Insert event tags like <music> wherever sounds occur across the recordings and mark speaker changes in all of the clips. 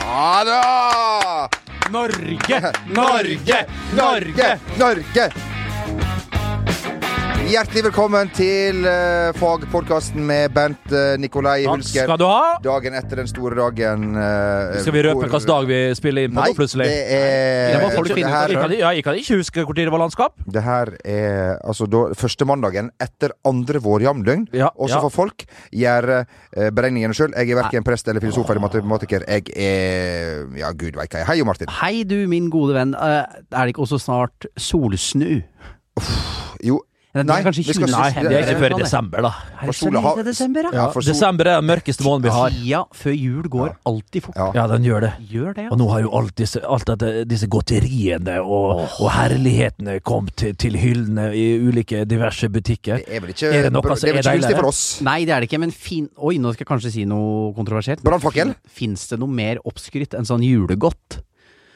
Speaker 1: Ja da!
Speaker 2: Norge! Norge! Norge!
Speaker 1: Norge! Hjertelig velkommen til eh, fagpodkasten med Bent eh, Nikolai
Speaker 2: Takk
Speaker 1: Hulsker.
Speaker 2: skal du ha.
Speaker 1: Dagen etter den store dagen eh,
Speaker 2: Skal vi røpe
Speaker 1: hvor-
Speaker 2: hvilken dag vi spiller inn på
Speaker 1: Nei,
Speaker 2: nå, plutselig?
Speaker 1: det er
Speaker 2: Det må folk finne ut av.
Speaker 1: det
Speaker 2: Jeg
Speaker 1: her,
Speaker 2: kan- ja, Jeg kan ikke huske når det var landskap.
Speaker 1: det her er altså da, første mandagen etter andre vårjamdøgn.
Speaker 2: Ja,
Speaker 1: Også
Speaker 2: ja.
Speaker 1: for folk. Gjøre eh, beregningene sjøl. Jeg er verken prest eller filosof eller matematiker. Jeg er Ja, gud veit hva jeg er. Hei, jo, Martin.
Speaker 3: Hei du, min gode venn. Eh, Er det ikke også snart solsnu?
Speaker 2: Ah.
Speaker 1: Jo.
Speaker 3: Eller,
Speaker 1: Nei,
Speaker 3: kanskje
Speaker 1: vi skal
Speaker 3: 20.
Speaker 1: synes-
Speaker 3: Nei,
Speaker 2: Det er ikke før i
Speaker 3: sant,
Speaker 2: desember, da.
Speaker 3: Er det
Speaker 1: For sola
Speaker 3: så
Speaker 1: har-
Speaker 3: lite desember, ja?
Speaker 1: Ja, for sol-
Speaker 2: Desember er den mørkeste måneden vi har.
Speaker 3: Tida før jul går alltid fort.
Speaker 1: Ja.
Speaker 2: Ja, den gjør det.
Speaker 3: Gjør det,
Speaker 2: Og
Speaker 3: ja.
Speaker 2: nå har jo alt disse, alt dette, disse godteriene og, og herlighetene kommet til, til hyllene i ulike diverse butikker.
Speaker 1: Det er vel ikke,
Speaker 2: Er det noe som
Speaker 1: det er vel
Speaker 2: er
Speaker 1: ikke gunstig
Speaker 2: deiligere?
Speaker 1: for oss?
Speaker 3: Nei, det er det ikke, men fin... Oi, nå skal jeg kanskje si noe kontroversielt.
Speaker 1: Brannfakkel?
Speaker 3: Fins det noe mer oppskrytt enn sånn julegodt?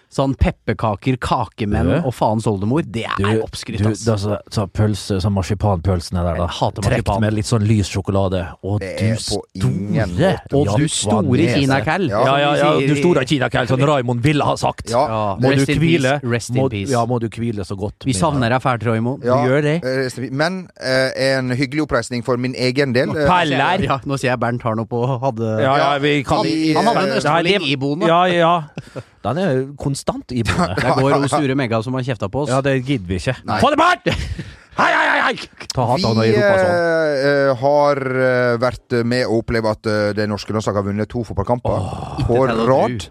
Speaker 3: Sånn pepperkaker, kakemenn
Speaker 2: Du-
Speaker 3: og faens oldemor. Det er oppskrytt,
Speaker 2: du,
Speaker 3: ass.
Speaker 2: det er så, så pølse, sånn marsipanpølsene der,
Speaker 3: Jeg
Speaker 2: da.
Speaker 3: hater
Speaker 2: Trekt
Speaker 3: marsipan.
Speaker 2: med litt sånn lys sjokolade. Og
Speaker 1: Det
Speaker 2: du
Speaker 1: er på ingen
Speaker 2: store
Speaker 1: måte.
Speaker 3: Og
Speaker 2: Ja,
Speaker 3: du store
Speaker 2: Vanese.
Speaker 3: kinakæll.
Speaker 1: Ja. altså,
Speaker 2: Ja, ja, ja, du store kinakæll, som Raymond ville ha sagt.
Speaker 1: Ja.
Speaker 3: Ja,
Speaker 2: Må du
Speaker 3: rest in
Speaker 2: hvile.
Speaker 3: peace, Rest in
Speaker 2: Må,
Speaker 3: peace.
Speaker 2: ja, må du hvile så godt.
Speaker 3: Vi
Speaker 2: min
Speaker 3: savner deg fælt, Roymo.
Speaker 1: Ja,
Speaker 3: Du gjør det.
Speaker 1: eh, Men eh, en hyggelig oppreisning for min egen del. Eh,
Speaker 2: Peller!
Speaker 3: Ja, nå ser jeg Bernt har noe på hadde
Speaker 2: Ja, ja, vi kan
Speaker 1: Han- han hadde en
Speaker 2: Nei,
Speaker 3: østfolding
Speaker 2: det-
Speaker 3: iboende.
Speaker 2: Ja, ja. Den er jo konstant
Speaker 1: <laughs>
Speaker 2: iboende.
Speaker 3: Der går hun sure megga som har kjefta på oss.
Speaker 2: Ja, det gidder vi ikke.
Speaker 1: Nei.
Speaker 2: Få det bort! Hei, hei, hei! hei! Ta
Speaker 1: Vi
Speaker 2: hatta i rumpa sånn.
Speaker 1: eh, har eh, vært med å oppleve at eh, det norske landslaget har vunnet to fotballkamper på
Speaker 3: tell og
Speaker 1: rad.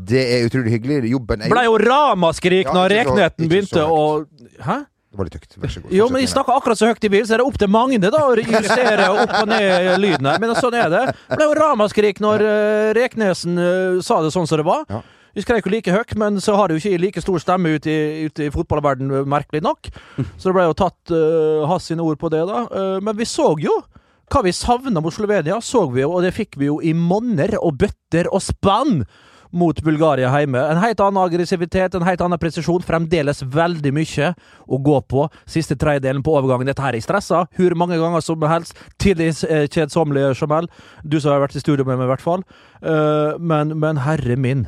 Speaker 1: Det er utrolig hyggelig. Jobben er
Speaker 2: Blei jo ramaskrik
Speaker 1: Ja,
Speaker 2: når
Speaker 1: ikke så-
Speaker 2: Rekneten
Speaker 1: ikke
Speaker 2: begynte
Speaker 1: så
Speaker 2: å Hæ?
Speaker 1: Det var litt høyt. Vær så god.
Speaker 2: Jo,
Speaker 1: Fortsett,
Speaker 2: men jeg
Speaker 1: Nina.
Speaker 2: snakker akkurat så høyt i bil, så er det opp til mange det da å justere opp og ned lyden her. Men sånn er det. Det ble jo ramaskrik når eh, Reknesen eh, sa det sånn som det var.
Speaker 1: Ja.
Speaker 2: Vi skrek jo like høyt, men så har det jo ikke like stor stemme ute i, ut i fotballverden, eh, merkelig
Speaker 1: <laughs>
Speaker 2: nok. Så det ble jo tatt eh, hans sine ord på det, da. Eh, men vi så jo hva vi savna mot Slovenia, så vi jo, og det fikk vi jo i monner og bøtter og spann mot Bulgaria hjemme. En helt annen aggressivitet, en helt annen presisjon. Fremdeles veldig mye å gå på. Siste tredjedelen på overgangen. Dette her er stressa. Hvor mange ganger som helst. Til det eh, kjedsommelige, Jamal. Du som har vært i studio med meg, i hvert fall. Eh, men, men herre min.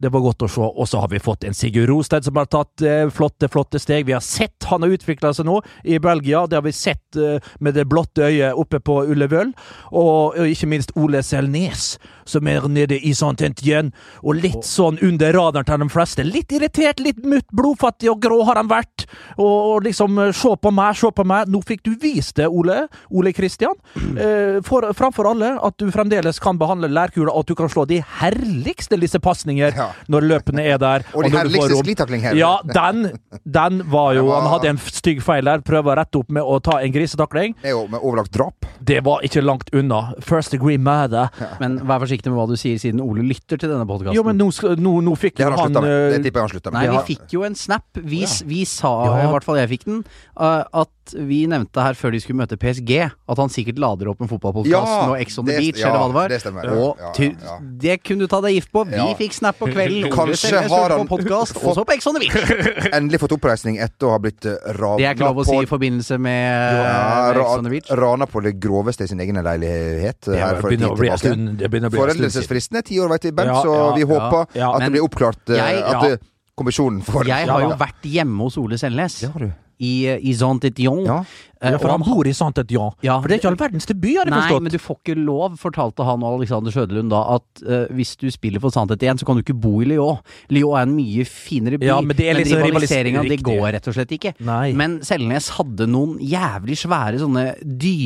Speaker 2: Det var godt å se. Og så har vi fått en Sigurd Rosted som har tatt eh, flotte flotte steg. Vi har sett han har utvikla seg nå i Belgia. Det har vi sett eh, med det blotte øyet oppe på Ullevøl. Og, og ikke minst Ole Selnes, som er nede i Saint-Étienne. Og litt sånn under radaren til de fleste. Litt irritert, litt mutt, blodfattig og grå har han vært. Og, og liksom eh, Se på meg, se på meg. Nå fikk du vist det, Ole. Ole Kristian. Eh, for, framfor alle at du fremdeles kan behandle lærkula, og at du kan slå de herligste lissepasninger
Speaker 1: Ja.
Speaker 2: når løpene er der.
Speaker 1: Og
Speaker 2: når du
Speaker 1: de
Speaker 2: får
Speaker 1: herligste
Speaker 2: rom.
Speaker 1: sklitakling her.
Speaker 2: Ja, den, den var jo
Speaker 1: Det var-
Speaker 2: Han hadde en stygg feil der. Prøver å rette opp med å ta en grisetakling.
Speaker 1: Det er jo med overlagt drap.
Speaker 2: Det var ikke langt unna. First degree murder.
Speaker 3: Men vær forsiktig med hva du sier, siden Ole lytter til denne podkasten.
Speaker 2: Jo, men nå, sk- nå, nå fikk
Speaker 1: Det
Speaker 2: jo
Speaker 1: har han
Speaker 2: han
Speaker 1: slutta med. Det
Speaker 2: eh,
Speaker 1: tipper jeg han slutta med.
Speaker 3: Nei,
Speaker 1: Ja.
Speaker 3: vi fikk jo en snap. Vi, s- vi sa,
Speaker 2: Ja.
Speaker 3: i hvert fall jeg fikk den, uh, at vi nevnte her før de skulle møte PSG, at han sikkert lader opp en fotballpodkast
Speaker 1: Ja,
Speaker 3: og Ex on the
Speaker 1: det-
Speaker 3: Beach,
Speaker 1: ja,
Speaker 3: eller hva det var.
Speaker 1: det stemmer.
Speaker 3: Og
Speaker 1: Ja, ja,
Speaker 3: tu-
Speaker 1: ja.
Speaker 3: det kunne du ta deg gift på. Vi
Speaker 1: Ja.
Speaker 3: fikk snap på kvelden. Ole
Speaker 1: <laughs> Kanskje
Speaker 3: Selnes
Speaker 1: har
Speaker 3: hørte
Speaker 1: han
Speaker 3: på podkast,
Speaker 1: fått-
Speaker 3: og så på Ex on
Speaker 1: <laughs>
Speaker 3: the Beach.
Speaker 1: Endelig fått oppreisning etter å ha blitt eh, ravna
Speaker 3: Det er ikke lov å si
Speaker 1: på
Speaker 3: i forbindelse med,
Speaker 2: eh,
Speaker 1: Ja,
Speaker 3: med Ex on the Beach.
Speaker 1: ra- Rana på det groveste i sin egen leilighet. eh,
Speaker 2: det
Speaker 1: her for en tid
Speaker 2: begynner å bli en
Speaker 1: tilbake.
Speaker 2: stund- det begynner å bli en stund siden.
Speaker 1: Foreldelsesfristen er ti år, veit vi, Bent,
Speaker 2: Ja,
Speaker 1: så
Speaker 2: ja,
Speaker 1: vi
Speaker 2: ja,
Speaker 1: håper
Speaker 2: ja.
Speaker 1: at det
Speaker 3: Men
Speaker 1: blir oppklart eh,
Speaker 3: jeg-
Speaker 1: at
Speaker 2: ja.
Speaker 1: eh, kommisjonen får
Speaker 3: Jeg har jo
Speaker 1: Ja,
Speaker 3: vært hjemme hos Ole Selnes.
Speaker 1: Det har du.
Speaker 3: I, i Saint-Étienne.
Speaker 1: Ja.
Speaker 3: Eh,
Speaker 2: Ja, for
Speaker 3: og
Speaker 2: han
Speaker 3: han-
Speaker 2: bor i Saint-Étienne.
Speaker 3: Ja.
Speaker 2: For det er ikke all verdens debut, har jeg
Speaker 3: Nei,
Speaker 2: forstått.
Speaker 3: men du får ikke lov, fortalte han og Alexander Sjødelund da, at eh, hvis du spiller for Sandhet igjen, så kan du ikke bo i Lyon. Lyon er en mye finere by,
Speaker 2: Ja, men det er litt sånn
Speaker 3: rivaliseringa, det
Speaker 2: riktig.
Speaker 3: går rett og slett ikke.
Speaker 2: Nei.
Speaker 3: Men Selnes hadde noen jævlig svære sånne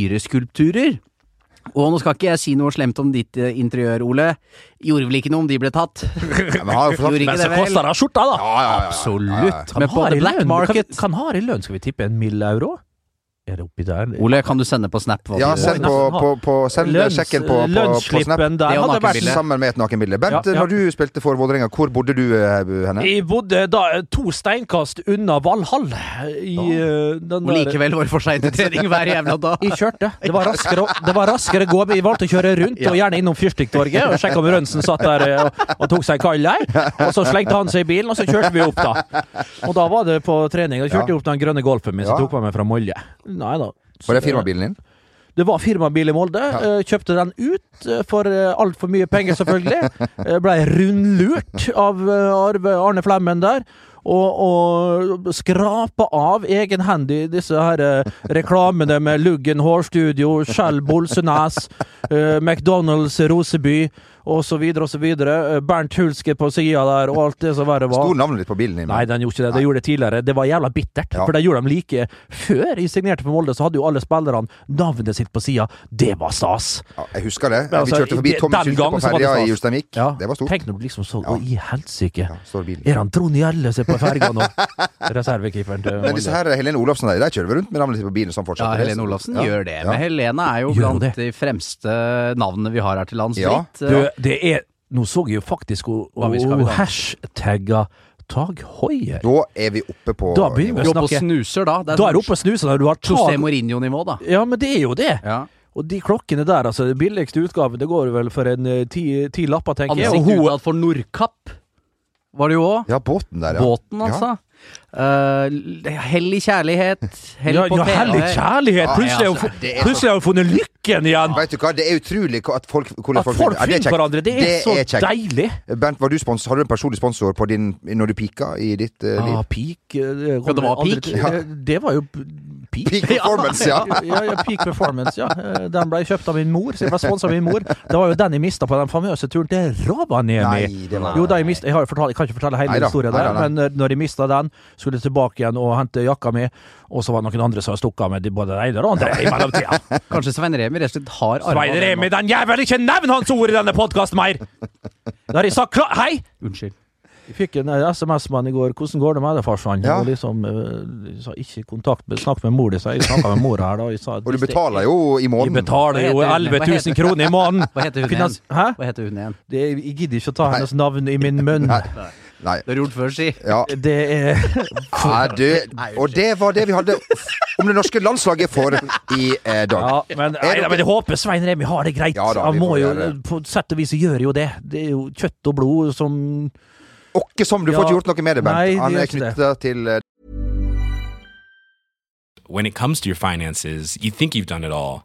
Speaker 3: dyreskulpturer. Og nå skal ikke jeg si noe slemt om ditt eh, interiør, Ole. Gjorde vel ikke noe om de ble tatt?
Speaker 1: men han har jo fortalt-
Speaker 3: Gjorde ikke
Speaker 2: Men så
Speaker 3: det vel?
Speaker 2: koster det skjorta, da!
Speaker 1: Ja, ja, ja, ja.
Speaker 3: Absolutt.
Speaker 2: Han
Speaker 3: Men på
Speaker 2: har
Speaker 3: the
Speaker 2: i
Speaker 3: black
Speaker 2: lønn.
Speaker 3: market
Speaker 2: Kan, kan har i lønn, skal vi tippe en mild euro? Er det oppi der?
Speaker 3: Ole, kan du sende på Snap hva
Speaker 1: Ja,
Speaker 3: du
Speaker 1: send på, på, på send
Speaker 2: Lønns-
Speaker 1: sjekken på, på, på Snap.
Speaker 2: Lønnsslippen
Speaker 3: Det
Speaker 2: der
Speaker 3: er jo
Speaker 2: hadde vært
Speaker 3: nakenbilde.
Speaker 1: Sammen med et nakenbilde. Bent,
Speaker 2: Ja, ja.
Speaker 1: når du spilte for Vålerenga, hvor bodde du eh, henne?
Speaker 2: Jeg bodde da to steinkast unna Valhall. I, eh, den
Speaker 3: Og
Speaker 2: der-
Speaker 3: likevel var det for seint i trening hver jævla dag.
Speaker 2: Jeg kjørte. Det var raskere, å- det var raskere å gå. men Jeg valgte å kjøre rundt og gjerne innom Fyrstikktorget og sjekke om Rønsen satt der eh, og, og tok seg en kald der. Og så slengte han seg i bilen, og så kjørte vi opp, da. Og da var det på trening. Da kjørte jeg opp den grønne Golfen min som
Speaker 1: Ja.
Speaker 2: tok meg med fra Molje. Nei da.
Speaker 1: Var det firmabilen din?
Speaker 2: Det var firmabil i Molde. eh, Kjøpte den ut eh, for altfor mye penger, selvfølgelig. Eh, Blei rundlurt av eh, Arve Arne Flemmen der. Og, og skrapa av egenhendig disse her eh, reklamene med Luggen hårstudio, Shell Bolsenes, eh, McDonald's Roseby osv. osv. Eh, Bernt Hulske på sida der, og alt det som verre var.
Speaker 1: Sto navnet ditt på bilen din?
Speaker 2: Nei, den gjorde ikke det. Det gjorde det tidligere. Det var jævla bittert.
Speaker 1: Ja.
Speaker 2: For det gjorde de like før jeg signerte for Molde, så hadde jo alle spillerne navnet sitt på sida. Det var stas!
Speaker 1: Ja, jeg husker det.
Speaker 2: Men altså,
Speaker 1: Vi kjørte forbi
Speaker 2: det-
Speaker 1: Tommy
Speaker 2: den
Speaker 1: Sylte
Speaker 2: gang
Speaker 1: på
Speaker 2: så var det
Speaker 1: ferja
Speaker 2: stas.
Speaker 1: i Ulsteinvik.
Speaker 2: Ja.
Speaker 1: Det var stort.
Speaker 2: Tenk når du liksom så
Speaker 1: Ja.
Speaker 2: Å, i helsike!
Speaker 1: Ja, stor bil.
Speaker 2: Er han Trond Gjellese på ferga nå? Reservekeeperen til
Speaker 1: Men disse
Speaker 2: Molde.
Speaker 1: her, Helene Olafsen der, der kjører vi rundt med navnet sitt på bilen sånn fortsatt.
Speaker 3: Ja, Helene Olafsen
Speaker 1: Ja.
Speaker 3: gjør det.
Speaker 1: Ja.
Speaker 3: Men Helene er jo
Speaker 2: Gjør hun
Speaker 3: blant
Speaker 2: det?
Speaker 3: de fremste navnene vi har her til lands.
Speaker 1: Ja.
Speaker 3: fritt. eh,
Speaker 2: Du, det er Nå så jeg jo faktisk hun
Speaker 3: Hva vi skal vi da?
Speaker 2: hashtagga Tag Hoier.
Speaker 1: Da er vi oppe på
Speaker 2: Da begynner vi
Speaker 3: Du
Speaker 2: å
Speaker 3: er oppe og
Speaker 2: snakke.
Speaker 3: snuser da.
Speaker 2: Da er du oppe og snuser når du har
Speaker 3: José
Speaker 2: tag.
Speaker 3: Mourinho-nivå, da.
Speaker 2: Ja, men det er jo det.
Speaker 3: Ja.
Speaker 2: Og de klokkene der, altså. Den billigste utgaven, det går vel for en eh, ti, ti lapper, tenker jeg. Og
Speaker 3: Ansikt
Speaker 2: hun
Speaker 3: utad for Nordkapp var det jo òg.
Speaker 1: Ja, båten der, ja.
Speaker 3: Båten,
Speaker 1: Ja.
Speaker 3: altså. Eh, hell i kjærlighet. Hell
Speaker 2: ja,
Speaker 3: på
Speaker 2: ja,
Speaker 3: TV.
Speaker 2: hellig kjærlighet!
Speaker 1: Ja,
Speaker 2: Plutselig har hun
Speaker 1: altså,
Speaker 2: fu-
Speaker 1: det er så-
Speaker 2: plutselig har hun funnet lykken igjen!
Speaker 1: Vet du hva, det er utrolig hva- at folk, hvordan
Speaker 2: At folk
Speaker 1: Ja, det er
Speaker 2: finner
Speaker 1: kjekt.
Speaker 2: hverandre, det er så deilig!
Speaker 1: Bernt, var du spons, har du en personlig sponsor på din, når du pika i ditt eh, liv?
Speaker 2: Ah, peak eh, det
Speaker 3: Ja, det var
Speaker 2: aldri-
Speaker 3: peak.
Speaker 2: eh, Det var jo p- peak.
Speaker 1: <laughs>
Speaker 2: <laughs>
Speaker 1: Peak performance, ja.
Speaker 2: ja, ja, peak performance, ja. Eh, Den ble kjøpt av min mor, så jeg var sponset av min mor. Det var jo den jeg mista på den famøse turen til Rovaniemi.
Speaker 1: Nei, det var
Speaker 2: Jo, da jeg, mist, jeg, har jo fortalt, jeg kan ikke fortelle hele
Speaker 1: Neida,
Speaker 2: historien der,
Speaker 1: neida, nei.
Speaker 2: men eh, når jeg mista den, skulle jeg tilbake igjen og hente jakka mi, og så var det noen andre som stukket av med de- både det ene og det andre i mellomtida.
Speaker 3: Kanskje Svein Remi rett og slett har arvet
Speaker 2: Svein
Speaker 3: den
Speaker 2: Remi,
Speaker 3: nå.
Speaker 2: den jævel, ikke nevn hans ord i denne podkasten mer! Da har jeg sagt klart Hei!
Speaker 3: Unnskyld.
Speaker 2: Jeg fikk en eh, SMS-mann i går. 'Hvordan går det med deg, farsan?'
Speaker 1: Ja.
Speaker 2: Og liksom eh, jeg sa, Ikke kontakt med Snakk med mor di, sa jeg. Jeg snakka med mora her, da. Jeg sa,
Speaker 1: Og du betaler jo i
Speaker 2: Jeg
Speaker 1: måneden.
Speaker 2: betaler jo
Speaker 3: Hva heter
Speaker 2: 11
Speaker 3: hun? Hva heter-
Speaker 2: 000 kroner i <laughs> måneden!
Speaker 3: Hva heter hun
Speaker 2: Finans-
Speaker 3: igjen?
Speaker 2: Hæ?
Speaker 3: Hva heter hun igjen?
Speaker 2: Det, jeg gidder ikke å ta hennes navn i min munn.
Speaker 1: Nei.
Speaker 3: Det har du gjort før, si.
Speaker 1: Ja.
Speaker 2: Det er
Speaker 1: <laughs> Ja, du, og det var det vi hadde om det norske landslaget for i eh, dag.
Speaker 2: Ja, men, nei, nei, men jeg håper Svein Remi har det greit.
Speaker 1: Ja da, vi
Speaker 2: Han må
Speaker 1: får
Speaker 2: jo
Speaker 1: gjøre det.
Speaker 2: På sett og vis så gjør jo det. Det er jo kjøtt og blod som
Speaker 1: Åkke som, du
Speaker 2: Ja.
Speaker 1: får ikke gjort noe med det,
Speaker 2: Nei, det
Speaker 1: Bernt. Han
Speaker 2: gjør
Speaker 1: er
Speaker 2: ikke det.
Speaker 1: knytta til eh,
Speaker 4: When it comes to your finances, you think you've done it all.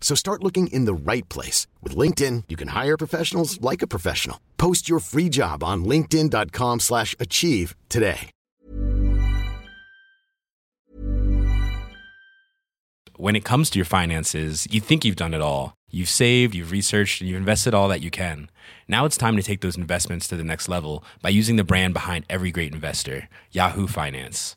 Speaker 5: So start looking in the right place. With LinkedIn, you can hire professionals like a professional. Post your free job on linkedin.com/achieve slash achieve today.
Speaker 4: When it comes to your finances, you think you've done it all. You've saved, you've researched, and you've invested all that you can. Now it's time to take those investments to the next level by using the brand behind every great investor, Yahoo Finance.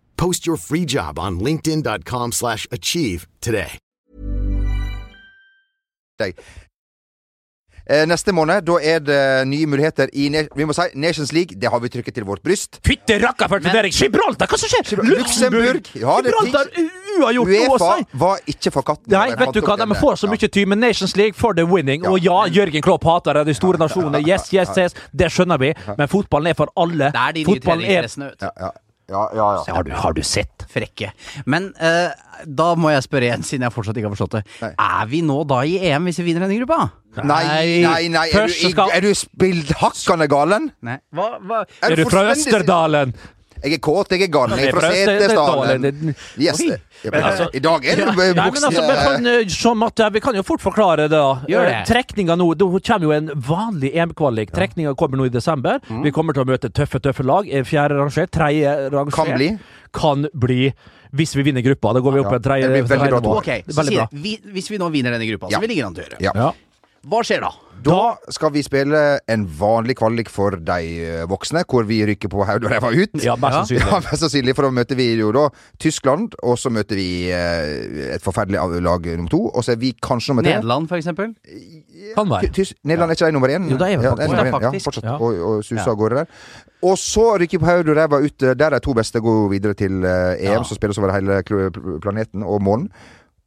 Speaker 5: Post your free job on linkedin.com/achieve slash achieve today.
Speaker 1: deg. Eh, neste måned da er det nye muligheter i Na- vi må si, Nations League. Det har vi trykket til vårt bryst.
Speaker 2: Fytte rakkerfart for deg! Gibraltar, hva som skjer?
Speaker 1: Luxembourg! Ja, det er ting-
Speaker 2: Gibraltar u- uavgjort noe å
Speaker 1: Uefa
Speaker 2: si!
Speaker 1: var ikke for katten.
Speaker 2: Nei, vet
Speaker 1: Den
Speaker 2: du
Speaker 1: hadde
Speaker 2: hva,
Speaker 1: opp
Speaker 2: de
Speaker 1: denne.
Speaker 2: får så mye ty, men Nations League for the winning. Og ja, Jørgen Klopp hater det, de store nasjonene. Yes, yes, yes, det skjønner vi. Men fotballen er for alle.
Speaker 3: Det er de nye
Speaker 2: Fotballen er
Speaker 3: trenerinteressene, vet du.
Speaker 1: Ja, ja, ja. ja, ja.
Speaker 2: har du, har du sett?
Speaker 3: Frekke. Men eh, da må jeg spørre igjen, siden jeg fortsatt ikke har forstått det.
Speaker 1: Nei.
Speaker 3: Er vi nå da i EM hvis vi vinner denne gruppa?
Speaker 1: Nei, nei, nei. Er
Speaker 2: Først
Speaker 1: du,
Speaker 2: så skal-
Speaker 1: er du spilt hakkande galen?
Speaker 3: Nei.
Speaker 2: Hva, hva?
Speaker 1: Er
Speaker 2: Er
Speaker 1: du
Speaker 2: du fra
Speaker 1: fullstendig-
Speaker 2: Østerdalen?
Speaker 1: Jeg er kåt, jeg er gal. Jeg er fra
Speaker 2: Jeg er fra
Speaker 1: Setesdalen.
Speaker 2: Setesdalen.
Speaker 1: Yes.
Speaker 2: Oi.
Speaker 1: Ja, men, altså, I dag er du
Speaker 2: Nei, men altså, men
Speaker 1: voksen.
Speaker 2: kan, eh, Jean Matte, vi kan jo fort forklare det. da
Speaker 3: Gjør det.
Speaker 2: Eh, Trekninga nå Det kommer jo en vanlig EM-kvalik. Trekninga kommer nå i desember.
Speaker 1: Mm.
Speaker 2: Vi kommer til å møte tøffe tøffe lag. Eh, Fjerde rangert, tredje rangert.
Speaker 1: Kan bli.
Speaker 2: Kan bli, hvis vi vinner gruppa. Da går vi opp
Speaker 1: Ja.
Speaker 2: på en tredje.
Speaker 1: Det blir veldig bra
Speaker 2: tredje-
Speaker 1: to.
Speaker 3: Ok, så
Speaker 2: Veldig
Speaker 3: sier
Speaker 2: bra.
Speaker 3: jeg, vi, Hvis vi nå vinner denne gruppa,
Speaker 1: Ja.
Speaker 3: som vi ligger an til å gjøre,
Speaker 1: Ja.
Speaker 2: Ja.
Speaker 3: hva skjer da?
Speaker 1: Da skal vi spille en vanlig kvalik for de eh, voksne, hvor vi rykker på hodet og ræva ut.
Speaker 2: Ja, mest sannsynlig.
Speaker 1: Ja, mest sannsynlig, for da møter vi jo da Tyskland, og så møter vi eh, et forferdelig av- lag nummer to, og så er vi kanskje nummer tre.
Speaker 3: Nederland, for eksempel?
Speaker 2: Kan
Speaker 1: Ty-
Speaker 2: være.
Speaker 1: Tys Nederland er ikke de nummer én?
Speaker 2: Jo, de er vel
Speaker 1: ja,
Speaker 2: faktisk-
Speaker 1: nummer
Speaker 3: Ja,
Speaker 1: én. ja,
Speaker 3: faktisk.
Speaker 1: fortsatt.
Speaker 2: Ja.
Speaker 1: Og, og suser
Speaker 3: Ja.
Speaker 1: av gårde der. Og så rykker på hodet og ræva ut. eh, Der de to beste går videre til eh, EM, som spilles over hele kl- planeten og månen.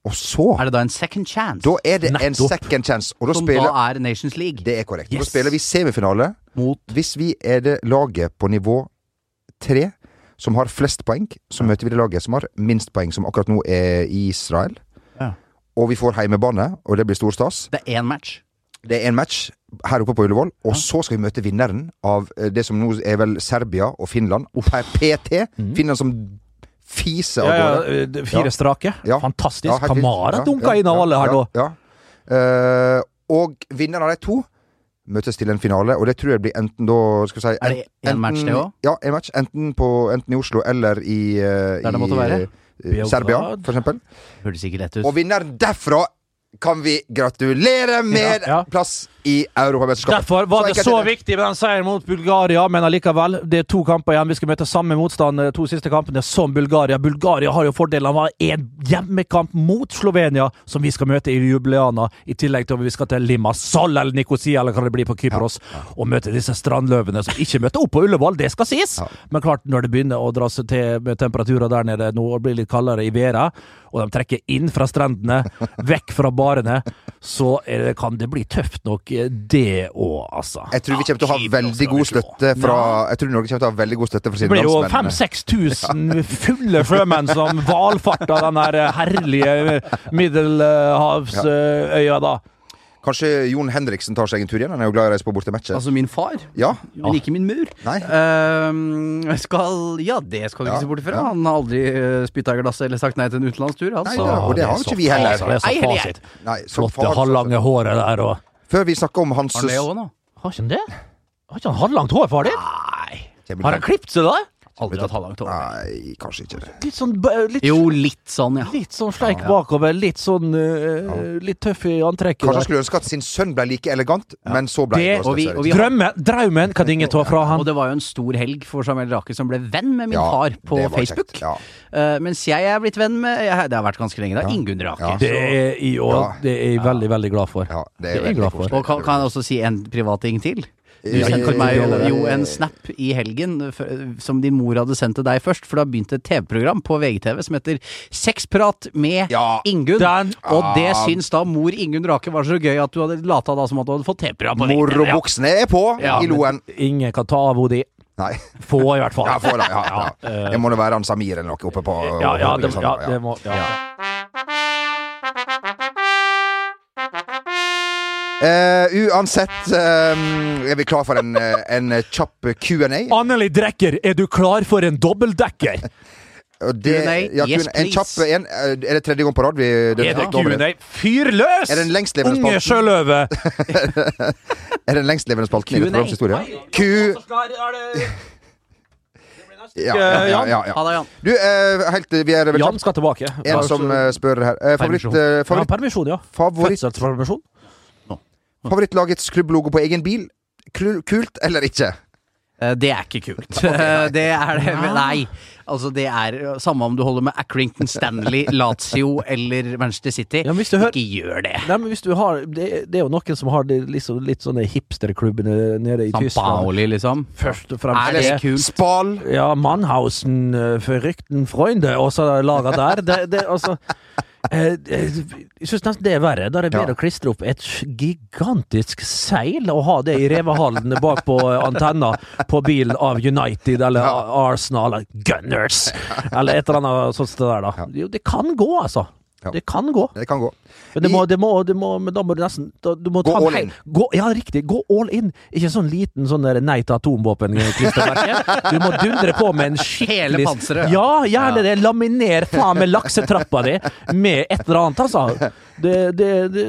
Speaker 1: Og så
Speaker 3: Er det da en second chance?
Speaker 1: Da er det en
Speaker 2: Nettopp.
Speaker 1: second chance, og da
Speaker 3: som
Speaker 1: spiller
Speaker 3: da er Nations League?
Speaker 1: Det er korrekt. Da
Speaker 3: Yes.
Speaker 1: spiller vi semifinale.
Speaker 3: Mot
Speaker 1: Hvis vi er det laget på nivå tre som har flest poeng, så møter vi det laget som har minst poeng, som akkurat nå er i Israel.
Speaker 3: Ja.
Speaker 1: Og vi får heimebane, og det blir stor stas.
Speaker 3: Det er én match.
Speaker 1: Det er en match her oppe på Ullevål, og så skal vi møte vinneren av eh, det som nå er vel Serbia og Finland. Og per PT Finland som fiser av
Speaker 2: Mm. Ja,
Speaker 1: gårde.
Speaker 2: ja, eh, det- fire
Speaker 1: Ja.
Speaker 2: strake.
Speaker 1: Ja.
Speaker 2: Fantastisk.
Speaker 1: Ja, helt vilt.
Speaker 2: Kamara
Speaker 1: Ja,
Speaker 2: dunka
Speaker 1: ja,
Speaker 2: inn av
Speaker 1: ja,
Speaker 2: alle her
Speaker 1: ja,
Speaker 2: nå.
Speaker 1: Ja. Eh, og vinneren av de to møtes til en finale, og det tror jeg blir enten da skal vi si,
Speaker 3: Er det en match, det også?
Speaker 1: Ja, en match. Enten, på, enten i Oslo eller i, eh,
Speaker 3: Der det måtte
Speaker 1: i
Speaker 3: være.
Speaker 1: eh, Serbia,
Speaker 2: Beograd.
Speaker 1: for eksempel.
Speaker 3: Hørtes ikke lett ut.
Speaker 1: Og vinneren derfra kan vi gratulere med
Speaker 2: Ja, ja.
Speaker 1: plass i Europamesterskapet.
Speaker 2: Derfor var det
Speaker 1: enkelt
Speaker 2: så
Speaker 1: er det.
Speaker 2: viktig med den seieren mot Bulgaria, men allikevel. Det er to kamper igjen. Vi skal møte samme motstand eh, to siste kampene som Bulgaria. Bulgaria har jo fordelen av å ha en hjemmekamp mot Slovenia, som vi skal møte i Jubileana, i tillegg til at vi skal til Limassol eller Nikosia eller hva det blir på Kypros, og møte disse strandløvene som ikke møter opp på Ullevål. Det skal sies. Men klart, når det begynner å dra seg til med temperaturer der nede nå og blir litt kaldere i været, og de trekker inn fra strendene, vekk fra barene, så er det, kan det bli tøft nok, eh, det òg, altså.
Speaker 1: Jeg tror vi kommer til å ha veldig god støtte fra Jeg tror Norge kommer til å ha veldig god støtte fra
Speaker 2: Det
Speaker 1: sine
Speaker 2: blir jo
Speaker 1: landsmenn.
Speaker 2: 5000-6000 fulle sjømenn som valfarter den der herlige Middelhavsøya, da.
Speaker 1: Kanskje Jon Henriksen tar seg en tur igjen? Han er jo glad i å reise på bortematcher.
Speaker 3: Altså min far,
Speaker 1: ja.
Speaker 3: men ikke min mur.
Speaker 1: Ah. Nei.
Speaker 3: Ehm, skal Ja, det skal du ikke
Speaker 1: Ja,
Speaker 3: se bort ifra.
Speaker 1: ja.
Speaker 3: Han har aldri uh, spytta i glasset eller sagt nei til en utenlandstur. altså. Han,
Speaker 1: Nei,
Speaker 3: så
Speaker 1: ja, og det har jo
Speaker 2: så
Speaker 1: ikke vi heller.
Speaker 2: fasit, Det
Speaker 3: Ei,
Speaker 2: er så
Speaker 3: heller
Speaker 2: fasit.
Speaker 1: Nei, så
Speaker 2: Flotte,
Speaker 1: far-
Speaker 2: halvlange håret der og
Speaker 1: Før vi snakker om hans
Speaker 3: har han det òg nå?
Speaker 2: Har ikke han det? Har ikke han halvlangt hår, far din?
Speaker 3: Nei.
Speaker 1: Kjem-
Speaker 2: Har han klippet seg, da?
Speaker 3: Aldri tatt halvlangt hår.
Speaker 1: Nei, kanskje ikke det.
Speaker 2: Litt sånn bø- litt,
Speaker 3: Jo, litt sånn, ja.
Speaker 2: litt sånn sleik bakover, litt sånn eh, Litt tøff i antrekket.
Speaker 1: Kanskje
Speaker 2: der.
Speaker 1: han skulle ønske at sin sønn ble like elegant, men så ble
Speaker 2: Det-
Speaker 1: han
Speaker 3: og vi- og vi-
Speaker 2: Drømmen, drømmen kan ingen ta fra
Speaker 3: Og
Speaker 2: han.
Speaker 3: det var jo en stor helg for Samuel Rake, som ble venn med min
Speaker 1: Ja,
Speaker 3: far på
Speaker 1: det var kjekt,
Speaker 3: Facebook.
Speaker 1: ja.
Speaker 3: Eh, mens jeg er blitt venn med jeg, Det har vært ganske lenge, da. Ingunn Rake.
Speaker 1: Ja.
Speaker 2: Det er, i år,
Speaker 1: Ja.
Speaker 2: det er jeg veldig, veldig glad for.
Speaker 1: Ja, det
Speaker 2: Det
Speaker 1: er
Speaker 2: er jeg
Speaker 1: veldig
Speaker 2: glad for.
Speaker 1: koselig.
Speaker 3: Og kan, kan jeg også si en privat ting til? Du
Speaker 1: Ja,
Speaker 3: sendte
Speaker 1: ja,
Speaker 3: meg
Speaker 1: ja,
Speaker 3: jo,
Speaker 1: ja, ja.
Speaker 3: jo en snap i helgen f- som din mor hadde sendt til deg først, for det har begynt et TV-program på VGTV som heter Sexprat med
Speaker 1: Ja, Ah.
Speaker 3: Ingunn.
Speaker 2: den-
Speaker 3: Og det syns da mor Ingunn Rake var så gøy at du hadde lata da som at du hadde fått TV-program på VGTV. ja.
Speaker 1: Morobuksene er på
Speaker 3: Ja,
Speaker 1: i loen.
Speaker 2: Ingen kan ta av henne de.
Speaker 1: Nei.
Speaker 2: Få, i hvert fall.
Speaker 1: Ja, får det, ja, ja. Det må nå være han Samir eller noe oppe på
Speaker 2: Ja, ja, det, ja,
Speaker 1: ja.
Speaker 2: det må ja.
Speaker 1: Eh, uansett eh, er vi klar for en, eh, en kjapp Q&A.
Speaker 2: Anneli Drekker, er du klar for en dobbeltdekker?
Speaker 1: Og det-
Speaker 3: Q&A,
Speaker 1: ja,
Speaker 3: yes,
Speaker 1: en kjapp
Speaker 3: please.
Speaker 1: en. Eh, Er det tredje gang på rad? Vi, det,
Speaker 2: Er det
Speaker 1: nå blir
Speaker 2: Q&A? Fyr løs!
Speaker 1: Er det den lengstlevende
Speaker 2: Unge
Speaker 1: spalten? <laughs>
Speaker 2: sjøløve!
Speaker 1: Er det den lengstlevende spalten i
Speaker 3: Q&A.
Speaker 1: dette programs historie? Q... <laughs> Ja, ja, ja, ja, ja.
Speaker 3: Ha det, Jan.
Speaker 1: Du, eh, helt, vi er vel
Speaker 2: Jan
Speaker 1: kjapt.
Speaker 2: skal tilbake.
Speaker 1: En som eh, spør her. Eh, favoritt, eh,
Speaker 2: Han har
Speaker 1: favoritt,
Speaker 2: permisjon, ja.
Speaker 1: favoritt,
Speaker 2: Fødselspermisjon.
Speaker 1: favorittlaget skrubblogo på egen bil? Klu- Kult eller ikke?
Speaker 3: Eh, Det er ikke
Speaker 2: <laughs>
Speaker 3: kult. Eh, <laughs> Det er det men Nei. Altså, det er eh, samme om du holder med
Speaker 2: <laughs>
Speaker 3: Accrington Stanley, Lazio eller Manchester City.
Speaker 2: Ja, men hvis du hører-
Speaker 3: Ikke gjør det.
Speaker 2: Nei, men hvis du har, det, det er jo noen som har det, liksom, litt sånne hipsterklubbene nede i
Speaker 3: San
Speaker 2: Tyskland.
Speaker 3: Paoli, liksom.
Speaker 2: Først og
Speaker 3: Er
Speaker 2: fremst
Speaker 3: det kult?
Speaker 1: Spal!
Speaker 2: Ja, Mannhausen, eh, Verrückten Freunde, og så laga der. Det, det, altså, eh, eh, jeg syns nesten det er verre. Da er det bedre
Speaker 1: Ja.
Speaker 2: å klistre opp et gigantisk seil og ha det i revehallen bak på eh, antenna på bilen av United eller A- Arsenal eller
Speaker 1: <laughs>
Speaker 2: Gunners eller et eller annet sånt sted der, da. Jo, det kan gå, altså.
Speaker 1: Ja.
Speaker 2: Det kan gå.
Speaker 1: Det kan gå.
Speaker 2: Men det
Speaker 1: Vi-
Speaker 2: må, det må, det må, men da må du nesten da, du må
Speaker 1: Gå
Speaker 2: ta en
Speaker 1: all
Speaker 2: hel-
Speaker 1: in.
Speaker 2: Gå, ja, riktig. Gå all in. Ikke sånn liten sånn der nei til atomvåpen-klistremerke. Du må dundre på med en skikkelig
Speaker 3: Hele panseret.
Speaker 2: Ja, gjerne det. Laminer faen meg laksetrappa di med et eller annet, altså. Det, det, det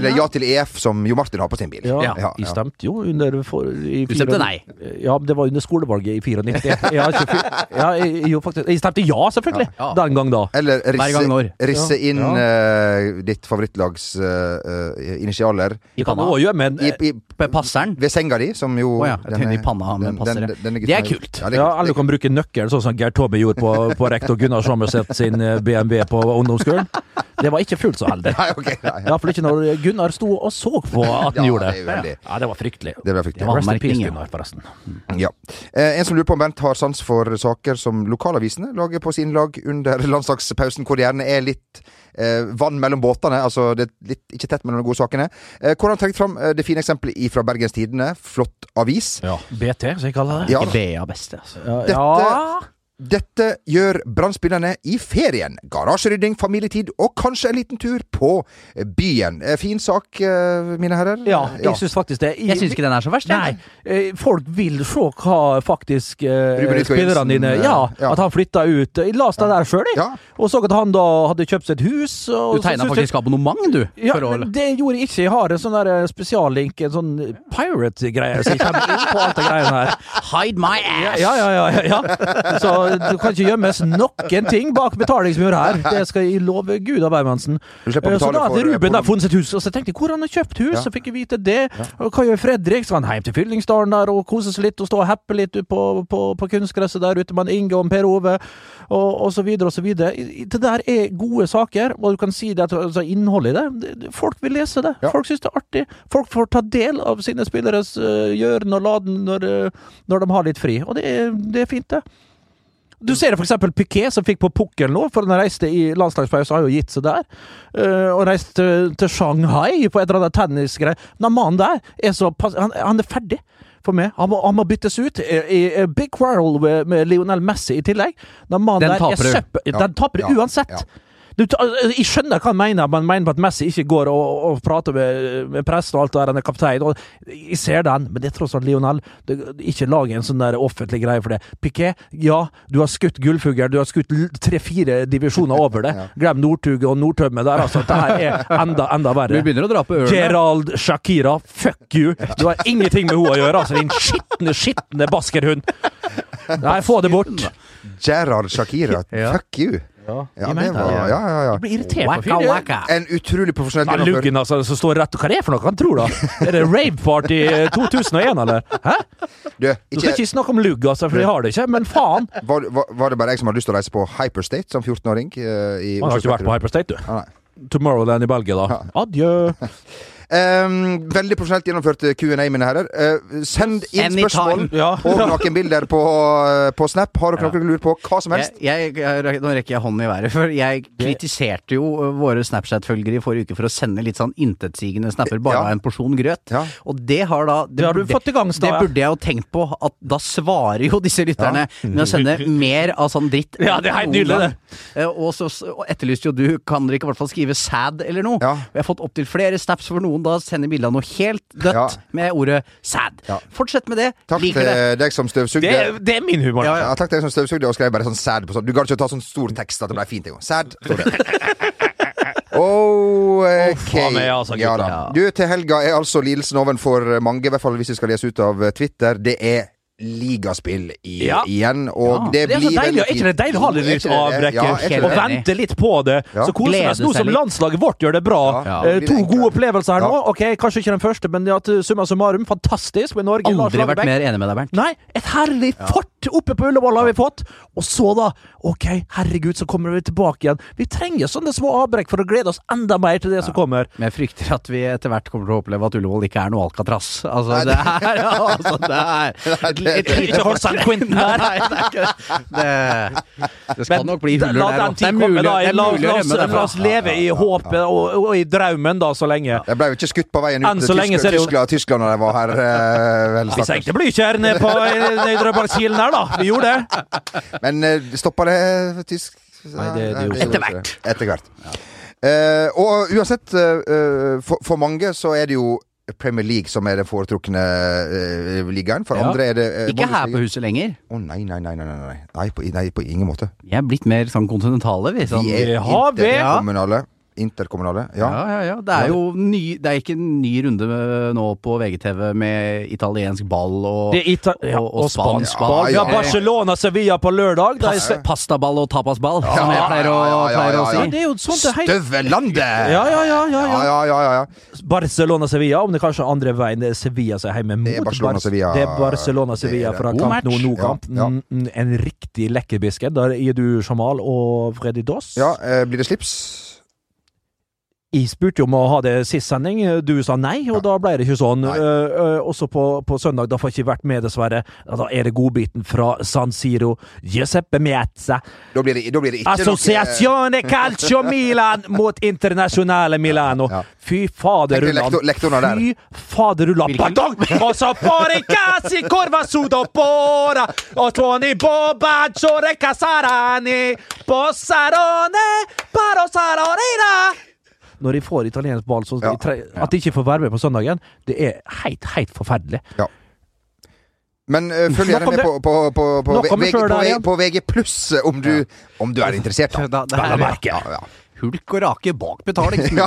Speaker 1: Eller ja til EF, som Jo Martin har på sin bil.
Speaker 2: ja,
Speaker 3: Ja,
Speaker 1: ja.
Speaker 2: jeg stemte jo under for, i
Speaker 3: Du stemte
Speaker 2: fire-
Speaker 3: nei.
Speaker 2: Ja, men det var under skolevalget i 94. Ja, 24, ja, jeg, jo, faktisk, jeg stemte ja, selvfølgelig!
Speaker 3: Ja.
Speaker 2: Den gang da.
Speaker 1: Eller risse,
Speaker 3: gang når.
Speaker 1: risse
Speaker 2: Ja.
Speaker 1: inn
Speaker 2: Ja.
Speaker 1: eh, ditt favorittlags eh, eh, initialer
Speaker 2: Jeg kan også gjøre, men
Speaker 1: i, i,
Speaker 3: Med passeren.
Speaker 1: ved senga di, som jo
Speaker 3: Å ja,
Speaker 1: den
Speaker 3: tynne i
Speaker 1: er-
Speaker 3: panna med passere. Det er kult.
Speaker 1: Ja, det er
Speaker 2: Ja,
Speaker 1: kult.
Speaker 2: eller du kan bruke nøkkel, sånn som Geir Tobbe gjorde på, på rektor Gunnar Sommerseth sin eh, BMW på ungdomsskolen. Det var ikke fullt så heldig.
Speaker 1: Nei, ok, nei, <laughs> ja.
Speaker 2: Iallfall ikke når Gunnar sto og så på at han
Speaker 1: Ja,
Speaker 2: gjorde
Speaker 1: det er
Speaker 2: det.
Speaker 1: uheldig.
Speaker 2: Ja, det var fryktelig.
Speaker 1: Det ble fryktelig.
Speaker 2: Det var Rest in
Speaker 3: Anmerkning,
Speaker 2: peace,
Speaker 3: ja.
Speaker 2: Gunnar, forresten.
Speaker 1: Ja. Eh, en som lurer på om Bent har sans for saker som lokalavisene lager på sine lag under <laughs> landslagspausen, hvor det gjerne er litt eh, vann mellom båtene. Altså det er litt, ikke tett mellom de gode sakene. Eh, hvor har han trukket fram eh, det fine eksempelet i fra Bergens Tidende. Flott avis.
Speaker 2: BT, som jeg kaller det.
Speaker 1: Ja,
Speaker 3: Ikke BA beste, altså.
Speaker 2: Ja,
Speaker 1: Dette- dette gjør Brann-spillerne i ferien. Garasjerydding, familietid og kanskje en liten tur på byen. Eh, Fin sak, eh, mine herrer.
Speaker 2: ja, jeg syns faktisk det.
Speaker 3: Jeg syns ikke den er så verst. jeg.
Speaker 2: Nei, eh, folk vil se hva faktisk eh,
Speaker 1: Ruben Rikard
Speaker 2: spillerne
Speaker 1: Jensen,
Speaker 2: dine
Speaker 1: eh,
Speaker 2: ja,
Speaker 1: ja.
Speaker 2: at han flytta ut. Jeg leste det der sjøl, jeg.
Speaker 1: Ja.
Speaker 2: Og så at han da hadde kjøpt seg et hus. Og
Speaker 3: Du
Speaker 2: så
Speaker 3: tegna
Speaker 2: syntes jeg-
Speaker 3: faktisk abonnement, du.
Speaker 2: Ja,
Speaker 3: for å-
Speaker 2: men det gjorde jeg ikke. Jeg har en sånn der eh, spesiallink, en sånn pirate-greie som jeg kommer inn på alt det greiene her.
Speaker 3: Hide my
Speaker 2: Ja,
Speaker 3: ass!
Speaker 2: ja, ja, ja, ja. Så du kan ikke gjemmes noen ting bak betalingsmur her. Det skal jeg love Gud av Bermansen.
Speaker 1: Du
Speaker 2: Eh, Så
Speaker 1: slipper å
Speaker 2: da
Speaker 1: betale
Speaker 2: hadde
Speaker 1: for
Speaker 2: Ruben da
Speaker 1: hvordan-
Speaker 2: funnet sitt hus, og så tenkte jeg hvor han har kjøpt hus,
Speaker 1: Ja.
Speaker 2: så fikk jeg vite det. Og hva gjør Fredrik? Skal han hjem til Fyllingsdalen der og kose seg litt og stå og happe litt ut på, på, på kunstgresset der ute med han Inge og Per Ove, og, og så videre og så videre. I- i- Det der er gode saker, og du kan si det at altså, innholdet i det. det- det- Folk vil lese det.
Speaker 1: Ja.
Speaker 2: Folk syns det er artig. Folk får ta del av sine spilleres uh, gjøren og laden når, eh, når de har litt fri, og det er, det er fint, det. Du ser det for eksempel Piquet som fikk på pukkelen nå, for han reiste i landslagspause, har jo gitt seg der. Eh, og reiste til, til Shanghai på et eller annet tennisgreie. Men den mannen der er så pass, han, han er ferdig for meg. Han må, han må byttes ut. I, i, i big quarrel med, med Lionel Messi i tillegg. Den mannen
Speaker 3: Den
Speaker 2: der
Speaker 3: taper du.
Speaker 2: er søppel.
Speaker 1: Ja.
Speaker 2: Den taper du
Speaker 1: Ja.
Speaker 2: uansett.
Speaker 1: Ja.
Speaker 2: Du, ta- altså, jeg skjønner hva han mener, man mener at Messi ikke går og, og prater med, med pressen og alt det der, han er kaptein. Og jeg ser den, men det er tross alt Lionel. Det, ikke lag en sånn der offentlig greie for det. Piquet, ja, du har skutt gullfugl, du har skutt l- tre-fire divisjoner over det. Glem Northug og Nordtømme der, altså. Det her er enda, enda
Speaker 3: Vi
Speaker 2: verre.
Speaker 3: begynner å dra på ørene.
Speaker 2: Gerald Shakira, fuck you! Du har ingenting med henne å gjøre, altså, din skitne, skitne baskerhund! Nei, få det bort!
Speaker 1: Gerard
Speaker 2: <laughs>
Speaker 1: Shakira,
Speaker 3: Ja.
Speaker 1: fuck you. Ja,
Speaker 2: jeg
Speaker 1: det
Speaker 2: mener
Speaker 1: var
Speaker 2: det.
Speaker 1: ja, ja,
Speaker 2: Jeg
Speaker 1: ja.
Speaker 2: blir irritert på
Speaker 3: Waka
Speaker 2: fyren. jeg.
Speaker 3: waka.
Speaker 1: En utrolig profesjonell
Speaker 2: Han
Speaker 1: gjennomført.
Speaker 2: luggen altså, som står rett Hva er det for noe han tror, da? Er det Rave Party eh,
Speaker 1: <laughs>
Speaker 2: 2001, eller? Hæ?
Speaker 1: Du,
Speaker 2: Du skal
Speaker 1: ikke,
Speaker 2: ikke snakke om lugg, altså, for de har det ikke, men faen!
Speaker 1: var, var, var det bare jeg som hadde lyst til å reise på Hyperstate som 14-åring? eh, i
Speaker 2: Han har
Speaker 1: Oslo
Speaker 2: ikke vært på
Speaker 1: Spektrum?
Speaker 2: Hyperstate, du.
Speaker 1: Ah, nei.
Speaker 2: Tomorrowland i Belgia, da. Adjø.
Speaker 1: Ehm, veldig profesjonelt gjennomført eh, Q&A, mine herrer. Eh, send inn
Speaker 3: Anytime.
Speaker 1: spørsmål
Speaker 2: Ja.
Speaker 1: og noen bilder på, på Snap. Har dere noe dere lurer på? Hva som helst?
Speaker 3: Jeg, jeg, jeg, nå rekker jeg hånden i været, for jeg kritiserte jo ø, våre Snapchat-følgere i forrige uke for å sende litt sånn intetsigende snapper bare
Speaker 1: Ja.
Speaker 3: av en porsjon grøt.
Speaker 1: Ja.
Speaker 3: Og det har da
Speaker 2: Det har du fått i gang,
Speaker 3: Det
Speaker 2: Stave.
Speaker 3: burde jeg jo tenkt på, at da svarer jo disse lytterne med å sende mer av sånn dritt.
Speaker 2: Ja, det er helt
Speaker 3: enn noen
Speaker 2: nydelig,
Speaker 3: gang. Eh, Og så s- og etterlyste jo du, kan dere ikke i hvert fall skrive sad eller noe?
Speaker 1: Ja.
Speaker 3: Og Jeg har fått opptil flere snaps hvor noen da sender bilde av noe helt dødt
Speaker 1: Ja.
Speaker 3: med ordet sad.
Speaker 1: Ja.
Speaker 3: Fortsett med det.
Speaker 1: Takk
Speaker 3: Liker
Speaker 1: til
Speaker 3: det.
Speaker 1: deg som støvsugde.
Speaker 2: Det, er- det er min humor.
Speaker 1: Ja, takk til deg som støvsugde og skrev bare sånn sad på sånn. Du gadd ikke å ta sånn stor tekst at det ble fint engang. Sad. står det.
Speaker 2: <laughs>
Speaker 1: OK.
Speaker 2: faen meg, altså, gutta.
Speaker 1: ja, da. Du, til helga er altså lidelsen ovenfor mange, i hvert fall hvis vi skal lese ut av Twitter. Det er ligaspill i,
Speaker 2: Ja.
Speaker 1: igjen. Og
Speaker 3: Ja.
Speaker 1: det,
Speaker 2: Det er så
Speaker 1: blir
Speaker 2: deilig,
Speaker 1: veldig
Speaker 2: er ikke det
Speaker 1: fint.
Speaker 2: deilig å ha det
Speaker 1: Jo, er
Speaker 2: litt
Speaker 1: ikke det det?
Speaker 2: avbrekk?
Speaker 1: Ja, er ikke
Speaker 2: og
Speaker 1: det?
Speaker 3: enig.
Speaker 2: vente litt på det.
Speaker 1: Ja.
Speaker 2: Så koser vi oss
Speaker 3: Glede
Speaker 2: nå
Speaker 3: seg
Speaker 2: som
Speaker 3: litt.
Speaker 2: landslaget vårt gjør det bra.
Speaker 1: Ja.
Speaker 2: Eh,
Speaker 1: Blir
Speaker 2: to gode
Speaker 1: det enklere.
Speaker 2: opplevelser her
Speaker 1: Ja.
Speaker 2: nå. Ok, Kanskje ikke den første, men ja, til summa summarum, fantastisk med Norge. Lars
Speaker 3: Aldri vært
Speaker 2: Lagerbäck.
Speaker 3: mer enig med deg, Bernt.
Speaker 2: Nei, et herlig fart oppe på Ullevål har vi fått. Og så, da. Ok, herregud, så kommer vi tilbake igjen. Vi trenger sånne små avbrekk for å glede oss enda mer til det som kommer.
Speaker 3: Men jeg frykter at vi etter hvert kommer til å oppleve at Ullevål ikke er noe Alcatraz. Altså, det er <laughs> altså, det
Speaker 1: <laughs>
Speaker 3: er Et
Speaker 2: Ikke hold San Quentin her.
Speaker 3: Nei, det er ikke
Speaker 2: <laughs>
Speaker 3: det. eh, Det skal nok bli huller
Speaker 2: la
Speaker 3: der.
Speaker 2: den
Speaker 3: også. Det
Speaker 2: tid
Speaker 3: er
Speaker 2: komme,
Speaker 3: mulig,
Speaker 2: da.
Speaker 3: det er
Speaker 2: La,
Speaker 3: mulig
Speaker 2: la,
Speaker 3: å
Speaker 2: oss,
Speaker 3: rømme
Speaker 2: la oss
Speaker 3: derfra.
Speaker 2: leve i håpet og, og i drømmen, da, så lenge.
Speaker 1: De ble jo ikke skutt på veien
Speaker 2: Enn
Speaker 1: ut
Speaker 2: så
Speaker 1: til
Speaker 2: lenge så
Speaker 1: Tyskland,
Speaker 2: er det jo-
Speaker 1: Tyskland, Tyskland når de var her. eh, vel,
Speaker 2: Vi
Speaker 1: stakkars.
Speaker 2: senkte blykjær ned på Drøbakkilen her, da. Vi gjorde det.
Speaker 1: Men uh, stoppa det eh, tysk Nei,
Speaker 2: det- det gjorde
Speaker 1: gjorde
Speaker 3: Etter
Speaker 1: ikke
Speaker 3: hvert.
Speaker 1: det. Etter hvert. Eh, og uansett, eh, eh, for, for mange så er det jo Premier League som er den foretrukne eh, ligaen. For
Speaker 2: Ja.
Speaker 1: andre er det eh,
Speaker 3: Ikke her på
Speaker 1: Bundesliga.
Speaker 3: huset lenger.
Speaker 1: Å nei, nei, nei, nei, nei, nei. Nei, på, nei, på ingen måte.
Speaker 3: Vi er blitt mer sånn kontinentale, vi. Sånn.
Speaker 1: Vi er
Speaker 2: har vi.
Speaker 1: interkommunale. Interkommunale, ja.
Speaker 3: Ja, ja, ja. Det er jo ny, det er ikke en ny runde med- nå på VGTV med italiensk ball og
Speaker 2: Det er Ita ja,
Speaker 3: og- og
Speaker 2: og spansk
Speaker 3: spansk
Speaker 1: ball.
Speaker 2: ball. Vi har
Speaker 1: Ja, ja, ja.
Speaker 2: Barcelona-Sevilla på lørdag. Da er
Speaker 3: pas- pastaball og tapasball, som jeg pleier å,
Speaker 1: ja, ja,
Speaker 3: pleier å
Speaker 1: ja,
Speaker 3: si.
Speaker 1: ja.
Speaker 2: Ja, det er jo sånt Sånn, det er helt
Speaker 1: Støvelandet!
Speaker 2: Ja, ja, ja. ja,
Speaker 1: ja,
Speaker 2: ja.
Speaker 1: ja, ja, ja.
Speaker 2: Barcelona-Sevilla, om det kanskje er andre veien det er Sevilla som er hjemme mot
Speaker 1: Det er Barcelona-Sevilla.
Speaker 2: Det er Barcelona-Sevilla
Speaker 1: Det er
Speaker 2: fra
Speaker 3: det. God
Speaker 2: kamp nå,
Speaker 3: match.
Speaker 2: nå
Speaker 1: Ja,
Speaker 2: kamp.
Speaker 1: ja.
Speaker 2: Mm, mm, En riktig lekker bisken. Der er du Jamal og Freddy Doss.
Speaker 1: ja eh, blir det slips?
Speaker 2: Jeg spurte jo om å ha det sist sending, du sa nei, og da ble det ikke sånn.
Speaker 1: Nei.
Speaker 2: Eh, eh, også på, på søndag, da får jeg ikke vært med, dessverre. Ja, Da er det godbiten fra San Siro. Giuseppe Miazza.
Speaker 1: Da blir det, da blir det ikke noe <laughs>
Speaker 2: Associazione Calcio Milan mot Internasjonale Milano.
Speaker 1: Ja, ja.
Speaker 2: Fy fader,
Speaker 1: Tenk deg
Speaker 2: Ulland.
Speaker 1: lektor- lektorene der.
Speaker 2: Fy fader, Ulland.
Speaker 3: Hvilken-
Speaker 2: Batong! Og så pore casi corva sudopora. Og tuoni boba giore casarani. Bossarone parosarorina. Når de får italiensk ball, så
Speaker 1: Ja.
Speaker 2: at de ikke får være med på søndagen, det er helt, helt forferdelig.
Speaker 1: Men eh, følg gjerne
Speaker 2: Nok om
Speaker 1: med
Speaker 2: det.
Speaker 1: på, på, på, på,
Speaker 2: Nok om det
Speaker 1: VG,
Speaker 2: før
Speaker 1: på,
Speaker 2: der, ja.
Speaker 1: VG, på VG eh, om du, om du er interessert, da.
Speaker 3: Da- det her-
Speaker 1: Vel å merke. Ja, ja.
Speaker 3: Hulk og rake bak betaling.
Speaker 2: Ja,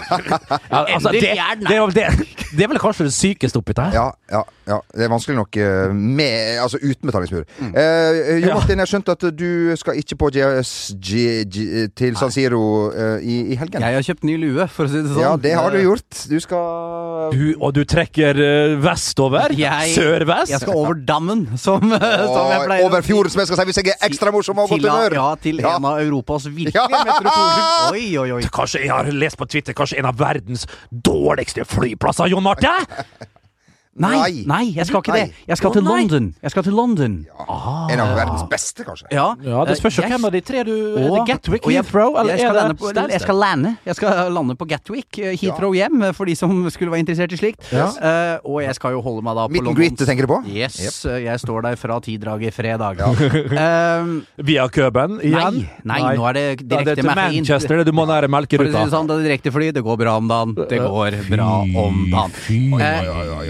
Speaker 2: altså, det, det,
Speaker 3: Endelig er den
Speaker 2: er vel det, det er vel kanskje det sykeste oppi det her.
Speaker 1: Ja, ja, ja. Det er vanskelig nok eh, med, altså uten betalingsmur.
Speaker 3: Mm.
Speaker 1: Eh, jo
Speaker 2: Ja.
Speaker 1: Martin, jeg har skjønt at du skal ikke på GS G, G, til San Siro eh, i, i helgen.
Speaker 3: Jeg har kjøpt ny lue, for å si det sånn.
Speaker 1: Ja, det har du gjort. Du skal
Speaker 2: Du, og du trekker eh, vestover?
Speaker 3: <laughs> Jeg-
Speaker 2: Sørvest?
Speaker 3: Jeg skal over dammen, som, <laughs> som sånn, jeg
Speaker 1: og
Speaker 3: pleier å
Speaker 1: over
Speaker 3: si.
Speaker 1: fjorden, som jeg skal si hvis jeg er ekstra morsom og har
Speaker 3: Til
Speaker 1: godt
Speaker 3: a-
Speaker 1: humør.
Speaker 3: Ja, til
Speaker 1: Ja.
Speaker 3: en av
Speaker 1: <laughs>
Speaker 3: Europas virkelige
Speaker 1: Ja.
Speaker 3: metropoler. Oi, oi, oi.
Speaker 2: Kanskje jeg har lest på Twitter Kanskje en av verdens dårligste flyplasser, Jon Marte?
Speaker 3: Nei, nei, jeg skal ikke det.
Speaker 1: Nei.
Speaker 3: Jeg skal
Speaker 2: Å,
Speaker 3: til
Speaker 2: nei.
Speaker 3: London. Jeg skal til London.
Speaker 1: Ah. En av verdens beste, kanskje.
Speaker 3: Ja,
Speaker 2: Ja, det spørs jo
Speaker 3: eh,
Speaker 2: hvem av de tre du Er det
Speaker 3: og-
Speaker 2: Gatwick,
Speaker 3: og jeg-
Speaker 2: Heathrow, eller
Speaker 3: jeg
Speaker 2: er
Speaker 3: skal, lande
Speaker 2: det
Speaker 3: på, jeg skal lande Jeg skal lande på Gatwick, eh, Heathrow hjem, eh, for de som skulle være interessert i slikt. Eh, og jeg skal jo holde meg da på
Speaker 1: Meet and
Speaker 3: Londons-
Speaker 1: greet, tenker du på?
Speaker 3: Yes, eh, jeg står der fra tidraget fredag. <laughs> Eh,
Speaker 2: Via Køben igjen?
Speaker 3: nei, nei, nå er det
Speaker 2: Da
Speaker 3: direkte
Speaker 2: til
Speaker 3: med fint.
Speaker 2: Manchester, du må nære
Speaker 3: For å si
Speaker 2: melkeruta.
Speaker 3: det sånn, det er direktefly, det går bra om dagen. Det går bra om dagen.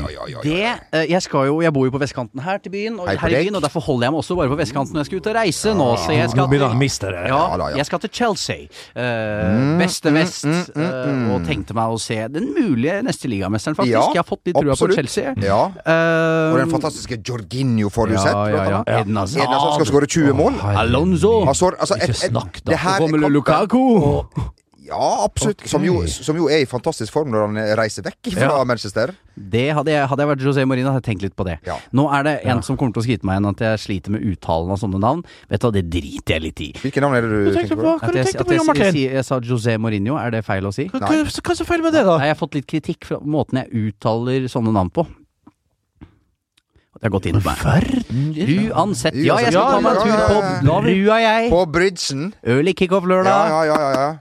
Speaker 3: Eh, Det, eh, jeg, skal jo, jeg bor jo på vestkanten her til byen, og,
Speaker 1: Hei Ah, på
Speaker 3: her i
Speaker 1: deg.
Speaker 3: byen, og derfor holder jeg meg også bare på vestkanten når jeg skal ut og reise nå. Så jeg
Speaker 2: Nå
Speaker 3: skal
Speaker 2: begynner han å
Speaker 3: til,
Speaker 2: miste det.
Speaker 3: ja,
Speaker 1: Ja, da, ja. Mm,
Speaker 3: jeg skal til Chelsea. Eh, beste vest. eh, og tenkte meg å se den mulige neste ligamesteren, faktisk.
Speaker 1: Ja,
Speaker 3: jeg har fått litt trua på
Speaker 1: absolutt.
Speaker 3: Chelsea.
Speaker 1: Ja.
Speaker 3: Eh,
Speaker 1: Og den fantastiske Jorginho får du
Speaker 3: ja,
Speaker 1: sett.
Speaker 3: ja, ja.
Speaker 1: blant annet.
Speaker 3: Eden Hazard.
Speaker 1: En som skal skåre 20 mål.
Speaker 3: Alonso.
Speaker 1: Altså, altså, et,
Speaker 2: Ikke
Speaker 1: et,
Speaker 2: snakk, da.
Speaker 1: det her
Speaker 3: Så
Speaker 1: er
Speaker 3: kommer
Speaker 1: kampen-
Speaker 3: Lukaku.
Speaker 1: Ja, absolutt. Som, jo, som jo er i fantastisk form når han reiser vekk fra
Speaker 3: Ja.
Speaker 1: Manchester.
Speaker 3: Det hadde, jeg, hadde jeg vært José Marina, hadde jeg tenkt litt på det.
Speaker 1: Ja.
Speaker 3: Nå er det en som kommer til å skrite meg igjen at jeg sliter med uttalen av sånne navn. Vet du hva, det driter jeg litt i.
Speaker 1: Hvilke navn er det
Speaker 2: Hva
Speaker 1: du
Speaker 2: tenkte
Speaker 1: tenker
Speaker 2: du på?
Speaker 1: på?
Speaker 2: Hva
Speaker 3: At
Speaker 2: du
Speaker 3: jeg,
Speaker 2: tenkte
Speaker 3: at
Speaker 2: på,
Speaker 3: jeg,
Speaker 2: Jon
Speaker 3: jeg,
Speaker 2: Martin?
Speaker 3: sier- jeg sa José Mourinho, er det feil å si?
Speaker 2: Hva hva- hva er så feil med det, da?
Speaker 3: Nei, jeg har fått litt kritikk for måten jeg uttaler sånne navn på. Det har gått inn på meg. Uansett. Ja, jeg skal
Speaker 1: Ja,
Speaker 3: ta meg
Speaker 1: ja,
Speaker 3: en
Speaker 1: ja,
Speaker 3: tur
Speaker 1: ja, ja.
Speaker 3: på brua, jeg.
Speaker 1: På Bridgen.
Speaker 3: Øl i kickoff
Speaker 1: Ja,
Speaker 3: lørdag.
Speaker 1: ja, ja. ja, ja.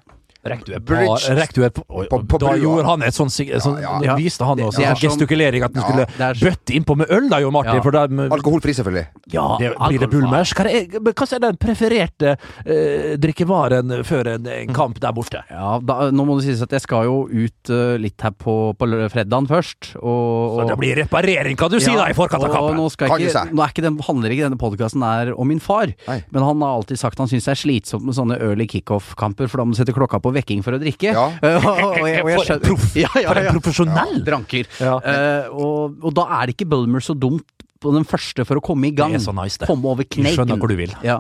Speaker 2: Rekk du er på,
Speaker 1: Bridge-
Speaker 2: rekk du er på, oi,
Speaker 1: På- på
Speaker 2: Da
Speaker 1: brua.
Speaker 2: gjorde han et sånn, sig- sånn
Speaker 1: Ja,
Speaker 3: ja.
Speaker 2: Viste han også
Speaker 3: Det er
Speaker 2: sånn
Speaker 3: som-
Speaker 2: gestikulering at han
Speaker 1: Ja,
Speaker 2: skulle
Speaker 3: det er som-
Speaker 2: bøtte innpå med øl, da, Jon Martin.
Speaker 3: Ja.
Speaker 2: For da
Speaker 1: Alkoholfri, selvfølgelig.
Speaker 2: Ja,
Speaker 3: Det-
Speaker 2: blir det
Speaker 3: alkoholfri.
Speaker 2: Bulmers? Hva er, men hva er den prefererte eh, drikkevaren før en, en kamp der borte?
Speaker 3: Ja, da, nå må det sies at jeg skal jo ut eh, litt her på, på lø- fredagen først. Og,
Speaker 2: Så
Speaker 3: og,
Speaker 2: det blir reparering, kan du si, da, i forkant av
Speaker 3: og
Speaker 2: kampen.
Speaker 3: Nå, skal
Speaker 1: Kan du
Speaker 3: ikke,
Speaker 1: si.
Speaker 3: nå er ikke den, handler ikke denne podkasten om min far,
Speaker 1: Nei.
Speaker 3: men han har alltid sagt han syns det er slitsomt med sånne early kickoff-kamper, for da må du sette klokka på vekking for å drikke.
Speaker 1: Ja.
Speaker 3: Eh, <laughs> og, og, jeg- og jeg
Speaker 2: For en
Speaker 3: skjønner-
Speaker 2: proff.
Speaker 3: Ja, ja,
Speaker 2: For en
Speaker 3: ja.
Speaker 2: profesjonell!
Speaker 3: Dranker.
Speaker 2: Ja.
Speaker 3: Eh, og, og da er det ikke Bulmer så dumt på den første for å komme i gang.
Speaker 2: Det er så nice, det.
Speaker 3: Komme over
Speaker 2: Jeg
Speaker 3: kneiken.
Speaker 2: skjønner hvor du vil.
Speaker 3: Ja.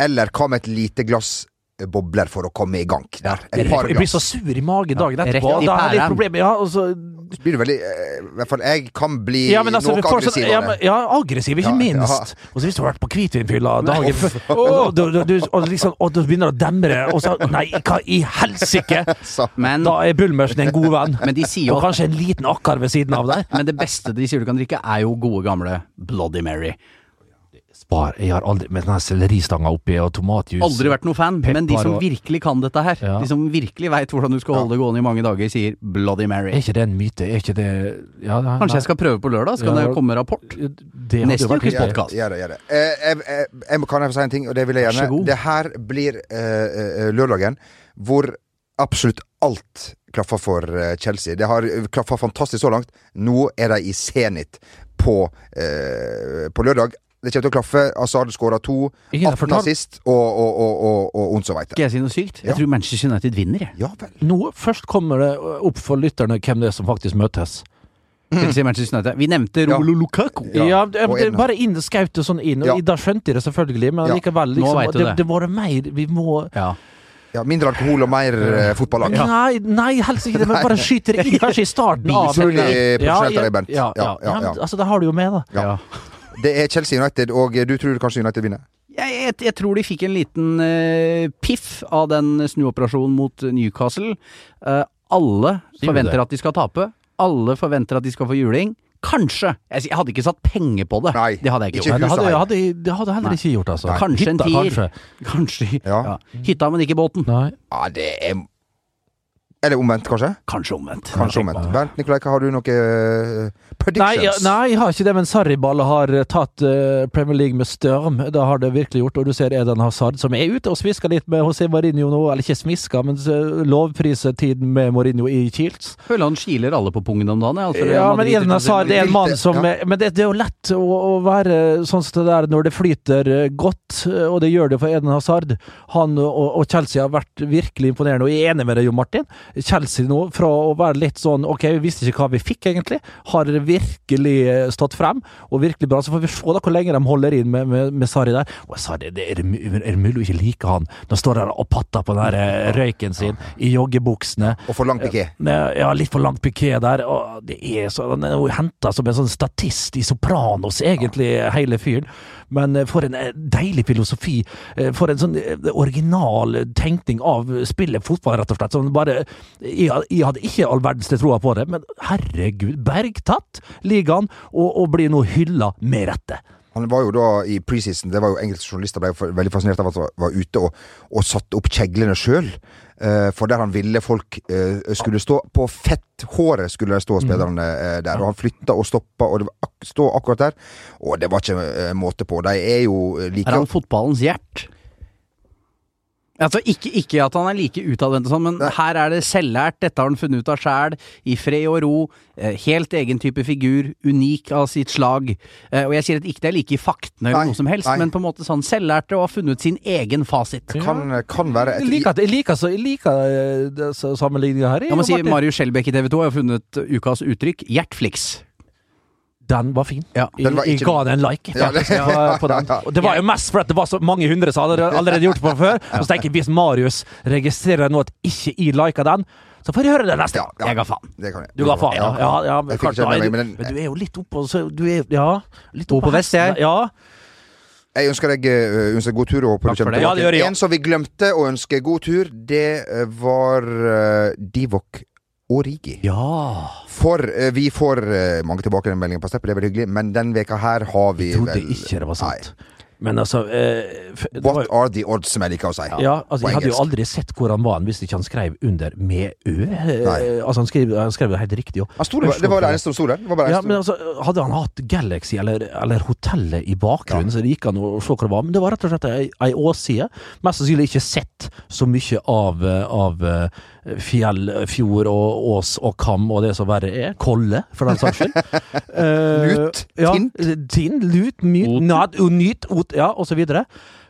Speaker 1: Eller hva med et lite glass eh, bobler for å komme i gang? Der. Et par
Speaker 2: Jeg blir så
Speaker 1: glass.
Speaker 2: sur i magen dagen
Speaker 3: Ja, rett
Speaker 2: etterpå.
Speaker 3: i
Speaker 2: Da har jeg litt
Speaker 3: pæren.
Speaker 2: problemer. Ja, altså,
Speaker 1: Blir du veldig eh, I hvert fall jeg kan bli
Speaker 2: ja, men altså, du
Speaker 1: noe
Speaker 2: får
Speaker 1: aggressiv
Speaker 2: sånn, ja,
Speaker 1: av
Speaker 2: men,
Speaker 1: det.
Speaker 2: ja, aggressiv, ikke
Speaker 1: Ja,
Speaker 2: minst. Og så hvis du har vært på hvitvinfylla dagen før, og, du- du- du- og, liksom, og du begynner å demre, og så Nei, hva i helsike!
Speaker 1: Så,
Speaker 3: Men,
Speaker 2: Da er Bulmersen en god venn.
Speaker 3: men de sier jo
Speaker 2: Og
Speaker 3: at
Speaker 2: kanskje en liten akkar ved siden av der.
Speaker 3: Men det beste de sier du kan drikke, er jo gode gamle Bloody Mary.
Speaker 2: Spar. Jeg har aldri Med den selleristanga oppi og tomatjus.
Speaker 3: Aldri vært noe fan, men de
Speaker 2: Pepper
Speaker 3: som
Speaker 2: og-
Speaker 3: virkelig kan dette her,
Speaker 2: Ja.
Speaker 3: de som virkelig veit hvordan du skal holde det gående i mange dager, sier Bloody Mary.
Speaker 2: ikke det en myte? Er ikke det
Speaker 3: Kanskje jeg skal prøve på lørdag, så kan
Speaker 2: Ja.
Speaker 3: det komme rapport.
Speaker 2: skal
Speaker 3: Neste ukes
Speaker 1: gjør det,
Speaker 3: podcast.
Speaker 1: gjør det. Gjør det. Eh, jeg, jeg, jeg, kan jeg få si en ting, og det vil jeg
Speaker 3: Vær så
Speaker 1: gjerne.
Speaker 3: god.
Speaker 1: Det her blir eh, eh, lørdagen hvor absolutt alt klaffer for eh, Chelsea. Det har klaffa fantastisk så langt. Nå er de i Zenit på, eh, på lørdag. Det kommer til å klaffe. Azard skåra to.
Speaker 2: Ingen har
Speaker 1: 18
Speaker 2: fortalt-
Speaker 1: assist og, og, og, og, og Onsoveite.
Speaker 3: Skal jeg si noe sykt?
Speaker 1: Ja.
Speaker 3: Jeg tror Manchester United vinner, jeg.
Speaker 1: Ja vel.
Speaker 2: Nå først kommer det opp for lytterne hvem det er som faktisk møtes.
Speaker 3: Skal jeg si Manchester United. Vi nevnte Rolo Lukaku.
Speaker 1: Ja,
Speaker 2: Mm. Ja, det,
Speaker 1: og
Speaker 2: det,
Speaker 1: Edna.
Speaker 2: Bare inn skaut det sånn inn. Og
Speaker 1: Ja.
Speaker 2: Da skjønte jeg det selvfølgelig, men
Speaker 1: Ja.
Speaker 2: likevel
Speaker 3: Nå
Speaker 2: liksom,
Speaker 3: vet du
Speaker 2: det,
Speaker 3: det.
Speaker 2: det var mer Vi må
Speaker 3: Ja.
Speaker 1: Ja, mindre alkohol og mer eh, fotballag.
Speaker 2: Nei, nei, helst ikke det, men bare skyter inn, kanskje i starten av
Speaker 1: Mulig
Speaker 2: Ja,
Speaker 1: profesjonelt
Speaker 2: ja,
Speaker 1: av deg, Bent.
Speaker 2: Ja, ja,
Speaker 1: Ja, ja, ja.
Speaker 2: men Altså, det har du jo med, da.
Speaker 1: Ja. Det er Chelsea United, og eh, du tror kanskje United vinner?
Speaker 3: Jeg, jeg, jeg tror de fikk en liten eh, piff av den snuoperasjonen mot Newcastle. Eh, alle
Speaker 2: du
Speaker 3: forventer
Speaker 2: det?
Speaker 3: at de skal tape. Alle forventer at de skal få juling. Kanskje! Jeg, s- jeg hadde ikke satt penger på det.
Speaker 1: Nei,
Speaker 3: det hadde jeg ikke,
Speaker 1: ikke
Speaker 3: gjort.
Speaker 2: Men det hadde,
Speaker 1: huset her.
Speaker 2: hadde, det hadde heller
Speaker 3: Nei.
Speaker 2: ikke gjort, altså.
Speaker 3: Kanskje en
Speaker 2: Hytta,
Speaker 3: tier.
Speaker 2: kanskje.
Speaker 3: Kanskje.
Speaker 1: Ja.
Speaker 3: Ja. Hytta, men ikke båten.
Speaker 2: Nei.
Speaker 1: Ja, det er Eller omvendt, kanskje?
Speaker 3: Kanskje omvendt.
Speaker 1: Kanskje omvendt. Bernt Nikolai, hva har du noe eh,
Speaker 2: Nei, ja,
Speaker 1: predictions?
Speaker 2: nei, jeg har ikke det, men Sarriball har eh, tatt eh, Premier League med storm. Det har det virkelig gjort. Og du ser Edan Hazard, som er ute og smisker litt med José Mourinho nå. Eller ikke smisker, men eh, lovpriser tiden med Mourinho i Kiels.
Speaker 3: Føler han kiler alle på pungen om dagen. jeg, Altså,
Speaker 2: Ja,
Speaker 3: Real
Speaker 2: men
Speaker 3: Madrid-
Speaker 2: Eden Hazard er en mann som
Speaker 1: Ja.
Speaker 2: Men det, det er jo lett å, å være sånn som det der når det flyter eh, godt, eh, og det gjør det for Eden Hazard. Han og, og Chelsea har vært virkelig imponerende, og jeg er enig med deg, Jo Martin. Chelsea nå, fra å være litt sånn OK, vi visste ikke hva vi fikk, egentlig, har virkelig eh, stått frem, og virkelig bra. Så får vi se da hvor lenge de holder inn med, med, med Sarri der. Og Sarri, det er, mu- er det mulig å ikke like han? Nå står han og patter på den der eh, røyken sin i joggebuksene.
Speaker 1: Og for lang piké.
Speaker 2: Det er- Ja, litt for langt piké der. Og det er så, han er jo henta som en sånn statist i Sopranos, egentlig, hele fyren. Men eh, for en eh, deilig filosofi. eh, For en sånn eh, original eh, tenkning av spillet fotball, rett og slett. Som bare Jeg, had- jeg hadde ikke all verdens til troa på det, men herregud. Bergtatt ligaen, og, og blir nå hylla med rette.
Speaker 1: Han var jo da i preseason Det var jo engelske journalister ble jo veldig fascinert av at han var ute og, og satte opp kjeglene sjøl. for der han ville folk eh, skulle stå. På fetthåret skulle de
Speaker 2: Mhm.
Speaker 1: stå, spillerne eh, der. Og han flytta og stoppa, og det var ak stå akkurat der. Og det var ikke eh, måte på. De er jo eh, like
Speaker 3: Er han fotballens hjert? Altså, ikke, ikke at han er like utadvendt og sånn, men her er det selvlært, dette har han funnet ut av sjæl, i fred og ro, eh, helt egen type figur, unik av sitt slag. Eh, Og jeg sier at ikke det er like i faktene eller
Speaker 1: Nei,
Speaker 3: noe som helst,
Speaker 1: nei.
Speaker 3: men på en måte sånn selvlærte og har funnet sin egen fasit.
Speaker 1: kan, kan være
Speaker 2: Jeg liker, at- jeg liker, så- jeg liker eh, sammenligninga her.
Speaker 3: Jeg må si
Speaker 2: Martin.
Speaker 3: Marius Skjelbæk i TV 2 har funnet ukas uttrykk, hjertflix.
Speaker 2: Den var fin.
Speaker 3: Ja.
Speaker 2: Jeg,
Speaker 1: Den var
Speaker 2: jeg
Speaker 1: ikke
Speaker 2: ga den en like.
Speaker 1: Ja, det-
Speaker 2: faktisk, på- på
Speaker 1: <laughs>
Speaker 2: den. Og det var jo mest fordi det var så mange hundre som hadde allerede gjort det på før. Og så tenker jeg hvis Marius registrerer nå at ikke jeg liker den, så får jeg høre det neste gang.
Speaker 1: Ja.
Speaker 3: Jeg ga faen.
Speaker 1: Det kan jeg.
Speaker 2: Du ga faen, ja. ja, ja men,
Speaker 1: Jeg
Speaker 2: klart,
Speaker 1: fikk ikke med meg,
Speaker 2: da er
Speaker 1: men
Speaker 2: du,
Speaker 1: den-
Speaker 2: men du er jo litt oppå så du er, Ja. Litt
Speaker 3: Oppå
Speaker 2: oppå
Speaker 3: vest, jeg.
Speaker 2: Ja.
Speaker 1: Jeg ønsker deg eh, ønsker god tur. Og håper
Speaker 3: Takk
Speaker 1: du
Speaker 3: for
Speaker 1: kommer
Speaker 3: det.
Speaker 2: Ja, det gjør jeg, ja.
Speaker 1: En som vi glemte å ønske god tur, det eh, var eh, Divok Origi.
Speaker 2: ja.
Speaker 1: For eh, vi får eh, mange tilbakemeldinger på Steppe, det er veldig hyggelig, men den veka her har vi
Speaker 2: Jeg trodde
Speaker 1: vel
Speaker 2: ikke det var sant. Men altså eh, f- det var
Speaker 1: What
Speaker 2: jo-
Speaker 1: are the odds, som jeg liker å si.
Speaker 2: ja, altså,
Speaker 1: på
Speaker 2: jeg hadde jo
Speaker 1: engelsk.
Speaker 2: aldri sett hvor han var han hvis ikke han skrev under med Ø.
Speaker 1: Nei.
Speaker 2: Eh, Altså, han skrev, han skrev det helt riktig.
Speaker 1: Han sto der, det var det eneste som sto der. Det var bare det
Speaker 2: Ja, men
Speaker 1: eneste.
Speaker 2: altså, hadde han hatt Galaxy eller, eller hotellet i bakgrunnen, så det gikk an å se hva det var. Men det var rett og slett ei, ei åsside. Mest sannsynlig ikke sett så mye av, eh, av eh, fjell, fjord og ås og kam og det som verre er. Kolle, for den
Speaker 1: <laughs>
Speaker 2: saks skyld. Eh,
Speaker 1: Lut,
Speaker 2: ja,
Speaker 1: tint.
Speaker 2: eh, Tint, lut, myt, nad, unyt, ot, ja, og så videre.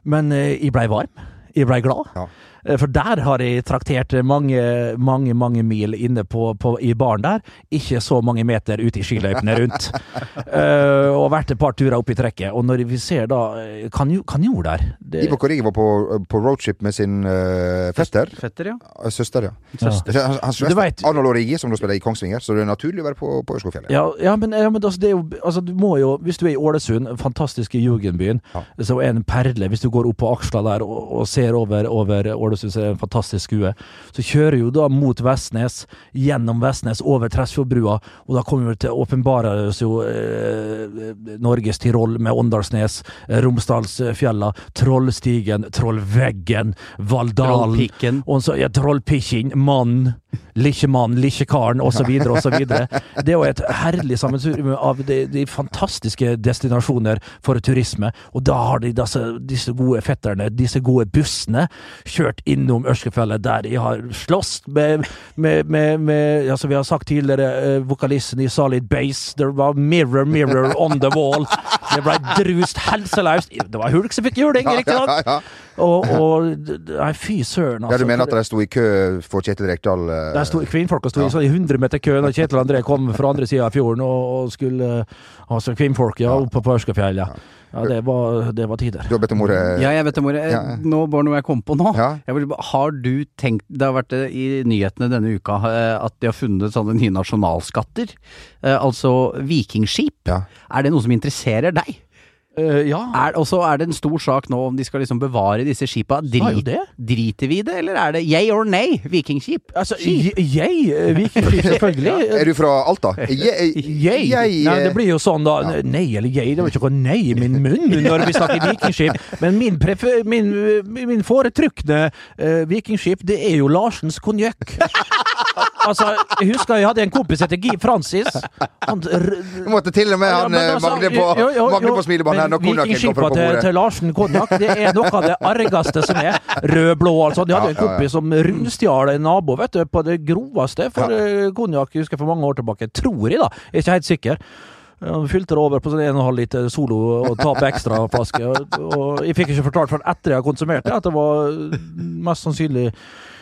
Speaker 2: Men eh, jeg blei varm. Jeg blei glad.
Speaker 1: Ja.
Speaker 2: Eh, For der har jeg traktert mange, mange mange mil inne på, på, i baren der. Ikke så mange meter ute i skiløypene rundt. Eh, og vært et par turer opp i trekket. Og når vi ser da eh, kanjo- Kanjon der det,
Speaker 1: Ivo Korrigi var på, eh, på roadship med sin eh, fetter.
Speaker 3: Fetter, ja.
Speaker 1: Eh, Søster, ja.
Speaker 2: Søster.
Speaker 1: Han, han
Speaker 2: Du vet-
Speaker 1: svester Arnold Origi, som da spiller i Kongsvinger, så det er naturlig å være på, på Ørskogfjellet.
Speaker 2: Ja, ja, men, ja, men altså, det er jo, altså, du må jo Hvis du er i Ålesund, den fantastiske jugendbyen,
Speaker 1: Ja.
Speaker 2: som er en perle Hvis du går opp på Aksla der og, og ser over, over Ålesund, så er det en fantastisk skue. Så kjører jo da mot Vestnes, gjennom Vestnes, over Tresfjordbrua, og da kommer vi til åpenbares jo eh, Norges Tirol med Åndalsnes, eh, Romsdalsfjella, Trollstigen, Trollveggen, Valldalen
Speaker 3: Trollpikken.
Speaker 2: og så ja, trollpikkjen, mann, lillemann, lillekaren osv. osv. Det er jo et herlig sammensurium av de, de fantastiske destinasjoner for turisme. Og da har de disse, disse gode fetterne, disse gode bussene, kjørt innom Ørskefjellet, der de har slåss med, med, med, med ja, som vi har sagt tidligere, eh, vokalisten i Solid Base. Det var 'Mirror, mirror on the wall'. Det ble drust helseløst. Det var Hulk som fikk juling, riktignok. Og, og d- d- Nei, fy søren,
Speaker 1: Ja,
Speaker 2: altså.
Speaker 1: du mener at de sto i kø for Kjetil Rekdal? eh,
Speaker 2: Der sto kvinnfolka sto i
Speaker 1: Ja.
Speaker 2: sånn 100 meter kø når Kjetil André kom fra andre sida av fjorden og, og skulle Altså kvinnfolk, ja, oppe på Ørskafjell, ja. ja det, var, det var tider.
Speaker 1: Du har bedt om ordet?
Speaker 3: Ja, jeg vet det, More.
Speaker 1: Eh,
Speaker 3: eh,
Speaker 1: Ja, ja.
Speaker 3: Nå var noe jeg kom på nå.
Speaker 1: Ja.
Speaker 3: Jeg vil bare- har du tenkt Det har vært det i nyhetene denne uka eh, at de har funnet sånne nye nasjonalskatter. Eh, Altså vikingskip.
Speaker 1: Ja.
Speaker 3: Er det noe som interesserer deg?
Speaker 2: Eh, ja.
Speaker 3: Er, og så er det en stor sak nå om de skal liksom bevare disse skipa.
Speaker 2: Sa jo
Speaker 3: Drit,
Speaker 2: det.
Speaker 3: driter vi i det, eller er det yay or nay vikingskip?
Speaker 2: Altså, je- jeg, eh, vikingskip, selvfølgelig.
Speaker 1: Er du fra
Speaker 2: <laughs>
Speaker 1: Alta? Jeg, eh,
Speaker 2: Jeg? Nei, det blir jo sånn, da. Nei eller jeg, det var ikke noe nei i min munn når vi snakker vikingskip. Men min, prefer, min, min foretrukne eh, vikingskip, det er jo Larsens konjakk. Altså, jeg husker jeg hadde en kompis heter Guy Francis. Han r-
Speaker 1: eh, Du måtte til og med
Speaker 2: Ja,
Speaker 1: han
Speaker 2: men
Speaker 1: eh,
Speaker 2: altså,
Speaker 1: Magne på,
Speaker 2: jo, jo,
Speaker 1: Magne
Speaker 2: jo,
Speaker 1: på smilebåndet her
Speaker 2: men
Speaker 1: når konjakken kom
Speaker 2: vikingskipa
Speaker 1: fram på
Speaker 2: til,
Speaker 1: bordet.
Speaker 2: til Larsen konjakk, det er noe av det argeste som er. Rød-blå, altså. De hadde
Speaker 1: Ja,
Speaker 2: en
Speaker 1: ja, ja.
Speaker 2: kompis som rundstjal en nabo, vet du, på det groveste for
Speaker 1: Ja.
Speaker 2: eh, konjakk, husker jeg for mange år tilbake. Tror jeg, da. Jeg er ikke helt sikker. Han fylte det over på sånn 1,5 liter Solo og ta på ekstra flaske. Og, og jeg fikk ikke fortalt før etter jeg hadde konsumert det, at det var mest sannsynlig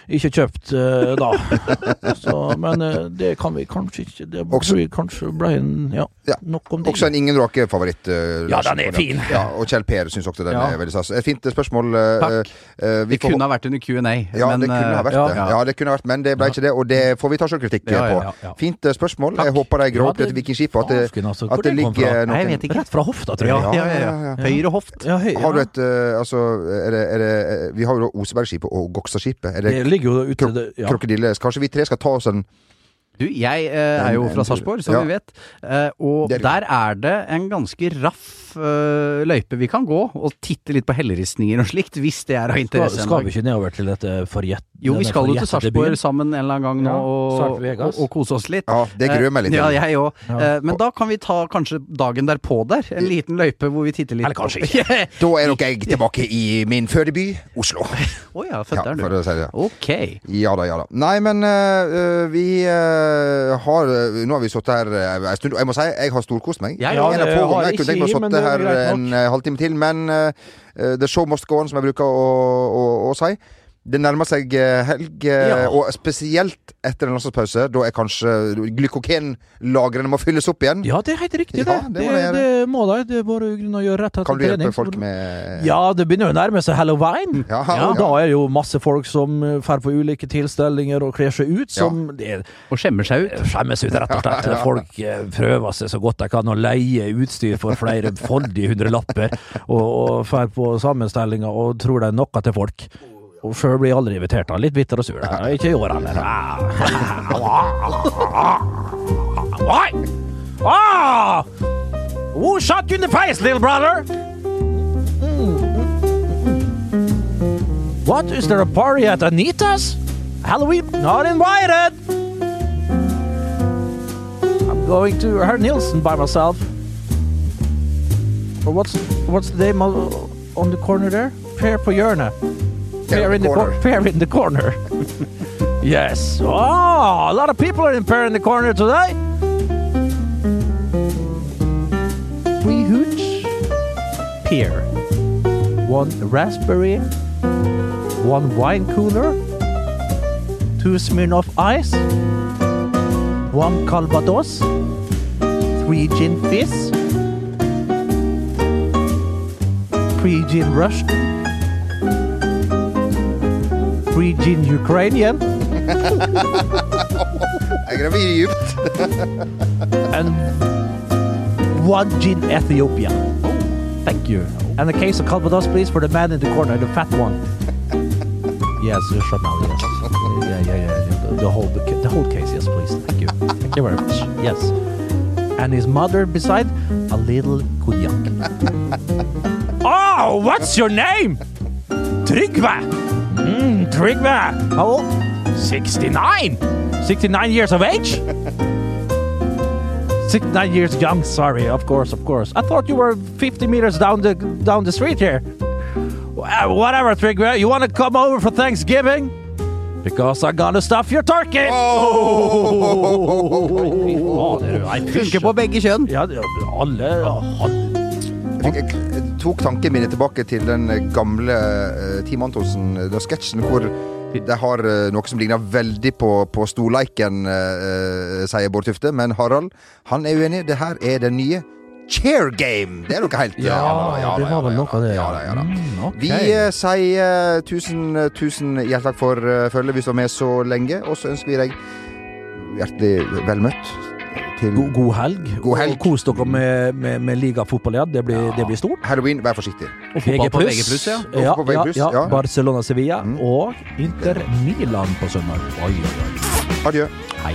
Speaker 2: ikke kjøpt eh, da. Så, men eh, det kan vi kanskje ikke Det
Speaker 1: Også-
Speaker 2: tror jeg kanskje ble en Ja,
Speaker 1: Ja.
Speaker 2: nok om det.
Speaker 1: Også en Ingen Rake-favoritt. eh,
Speaker 2: Ja,
Speaker 1: Larsen,
Speaker 2: den er
Speaker 1: konjakk.
Speaker 2: fin.
Speaker 1: Ja, og Kjell Per syns også den
Speaker 3: Ja.
Speaker 1: er veldig stas. Et fint eh, spørsmål. eh,
Speaker 3: Takk.
Speaker 1: eh, vi
Speaker 3: Det
Speaker 1: får
Speaker 3: kunne ha vært under Q&A.
Speaker 1: Ja, det kunne ha
Speaker 2: eh,
Speaker 1: vært
Speaker 2: ja.
Speaker 1: det. Ja, det kunne ha vært, men det ble ikke det, og det får vi ta sjølkritikk
Speaker 3: eh, Ja, ja,
Speaker 1: på.
Speaker 3: ja, ja.
Speaker 1: Fint eh, spørsmål. Jeg håper de graver opp dette vikingskipet, at eh, det,
Speaker 2: Fasken, altså, hvor
Speaker 1: at det
Speaker 2: den kom fra?
Speaker 1: ligger
Speaker 3: Nei, jeg
Speaker 1: noen
Speaker 3: vet ikke.
Speaker 2: Rett fra hofta, tror jeg.
Speaker 3: Ja, ja, ja,
Speaker 1: ja,
Speaker 3: ja. Høyre hoft.
Speaker 2: Ja, hei,
Speaker 1: Har du
Speaker 2: ja.
Speaker 1: et eh, Altså, er det, er det eh, Vi har jo da Osebergskipet og Gokstadskipet. Er det
Speaker 2: Det ligger jo ute det, ja.
Speaker 1: krokodille... Kanskje vi tre skal ta oss en
Speaker 3: Du, jeg eh, er jo fra Sarpsborg, som
Speaker 1: Ja.
Speaker 3: vi vet. eh, og
Speaker 1: Det er det.
Speaker 3: der er det en ganske raff eh, løype vi kan gå, og titte litt på helleristninger og slikt, hvis det er av
Speaker 2: Skal,
Speaker 3: interesse. en
Speaker 2: skal vi
Speaker 3: dag.
Speaker 2: ikke nedover til dette forjet...
Speaker 3: Jo, vi
Speaker 2: denne
Speaker 3: skal jo til
Speaker 2: forjettede
Speaker 3: Sarpsborg
Speaker 2: byen?
Speaker 3: sammen en eller annen gang nå
Speaker 2: Ja,
Speaker 3: og, og,
Speaker 2: Sarp-Vegas.
Speaker 3: og kose oss litt. Eh,
Speaker 1: Ja, det gruer jeg meg litt
Speaker 3: Ja,
Speaker 1: til.
Speaker 3: jeg òg.
Speaker 2: Ja.
Speaker 3: men da kan vi ta kanskje dagen derpå der. En liten løype hvor vi titter litt.
Speaker 2: Eller
Speaker 3: <laughs>
Speaker 2: kanskje ikke.
Speaker 1: Da er nok jeg tilbake i min fødeby,
Speaker 2: <laughs>
Speaker 1: Oslo.
Speaker 3: Å ja,
Speaker 1: Ja,
Speaker 3: født der,
Speaker 1: for å
Speaker 3: du.
Speaker 1: si det.
Speaker 3: Ok.
Speaker 1: Ja da, ja da. Nei, men øh, øh, vi øh, har øh, Nå har vi sittet her øh, en stund. og Jeg må si jeg har storkost meg.
Speaker 3: Jeg
Speaker 1: En
Speaker 2: òg.
Speaker 1: av
Speaker 2: Det
Speaker 1: få
Speaker 2: har ikke
Speaker 1: ganger. Jeg kunne tenkt meg å
Speaker 2: jeg, men
Speaker 1: sitte
Speaker 2: det er
Speaker 1: her
Speaker 2: greit
Speaker 1: en øh, halvtime til, men øh, øh, the show must go on, som jeg bruker å, å, å si. Det nærmer seg øh, helg, øh,
Speaker 2: Ja.
Speaker 1: og spesielt etter en landslagspause. Da er kanskje glykogenlagrene må fylles opp igjen.
Speaker 2: Ja, det er helt riktig, det.
Speaker 1: Ja, det må
Speaker 2: det, det,
Speaker 1: det gjøre.
Speaker 2: må da. Det er bare grunn å gjøre rett etter
Speaker 1: Kan du hjelpe
Speaker 2: trening.
Speaker 1: folk med
Speaker 2: Ja, det begynner jo å nærme seg halloween.
Speaker 1: Ja,
Speaker 2: Ja,
Speaker 1: ja.
Speaker 2: da er det jo masse folk som eh, drar på ulike tilstelninger og kler seg ut som det er-
Speaker 3: Og skjemmer seg
Speaker 1: Eh,
Speaker 3: ut.
Speaker 2: skjemmes ut, rett og slett. Folk eh, prøver seg så godt de kan og leier utstyr for flere foldige hundrelapper, og, og fer på sammenstillinger og tror det er noe til folk. Og sjøl blir jeg aldri invitert. da. Litt bitter og sur. da. Ikke i år heller. Ah. Oi! <laughs> Ah! Who shot you in the face, little brother? What? Is there a party at Anita's? Halloween? Not invited! I'm going to her Nielsen by myself. Or what's what's the name of- on the corner there? Fair for Jørna. Fair in the corner. fair in the corner. <laughs> yes. Oh, a lot of people are in Fair in the corner today. Three hoots. Pear. One raspberry.
Speaker 6: one wine cooler, two Smirnoff Ice, one Calvados, three gin fizz, three gin Russian, three gin Ukrainian,
Speaker 1: Jeg graver dypt.
Speaker 6: and one gin Ethiopia. Thank you. And a case of Calvados, please, for the man in the corner, the fat one. yes, you shut now. Yes. Yeah, yeah, yeah. yeah. The, the whole the, ca- the whole case, yes, please. Thank you. Thank you very much. Yes. And his mother beside a little konjac. oh, what's your name? Trygve. Mm, Trygve. How old? 69. 69 years of age? 69 years young, sorry, of course, of course. I thought you were 50 meters down the down the street here. Wha- Whatever, Trigger, you want to come over for Thanksgiving? Because I'm gonna stuff your turkey! Oh, det er jo- nei,
Speaker 3: Funker på begge kjønn.
Speaker 6: Ja, det- alle, alle
Speaker 1: Jeg, fikk, jeg, jeg tok tanken min tilbake til den gamle eh, Team Antonsen, den sketsjen hvor de har eh, noe som ligner veldig på, på storleiken, eh, eh, sier Bård Tufte. Men Harald han er uenig. Det her er den nye chair game. Det er noe helt
Speaker 6: Ja, det var vel noe av det,
Speaker 1: Ja
Speaker 6: ja.
Speaker 1: da, ja da.
Speaker 6: Mm, ok.
Speaker 1: Vi eh, sier eh, tusen, eh, tusen hjertelig takk for eh, følget hvis du var med så lenge. Og så ønsker vi deg hjertelig vel møtt til
Speaker 6: God, god helg.
Speaker 1: God helg.
Speaker 6: Og kos dere med, med, med ligafotball, ja. Det blir, det blir stort.
Speaker 1: halloween. Vær forsiktig.
Speaker 6: Og
Speaker 3: fotball på VG+, ja.
Speaker 6: ja.
Speaker 1: Og fotball på
Speaker 6: ja,
Speaker 1: VG+,
Speaker 6: ja,
Speaker 1: ja.
Speaker 6: Barcelona-Sevilla og Inter Milan på søndag. Oi, oi, oi.
Speaker 1: Adjø.
Speaker 6: Hei.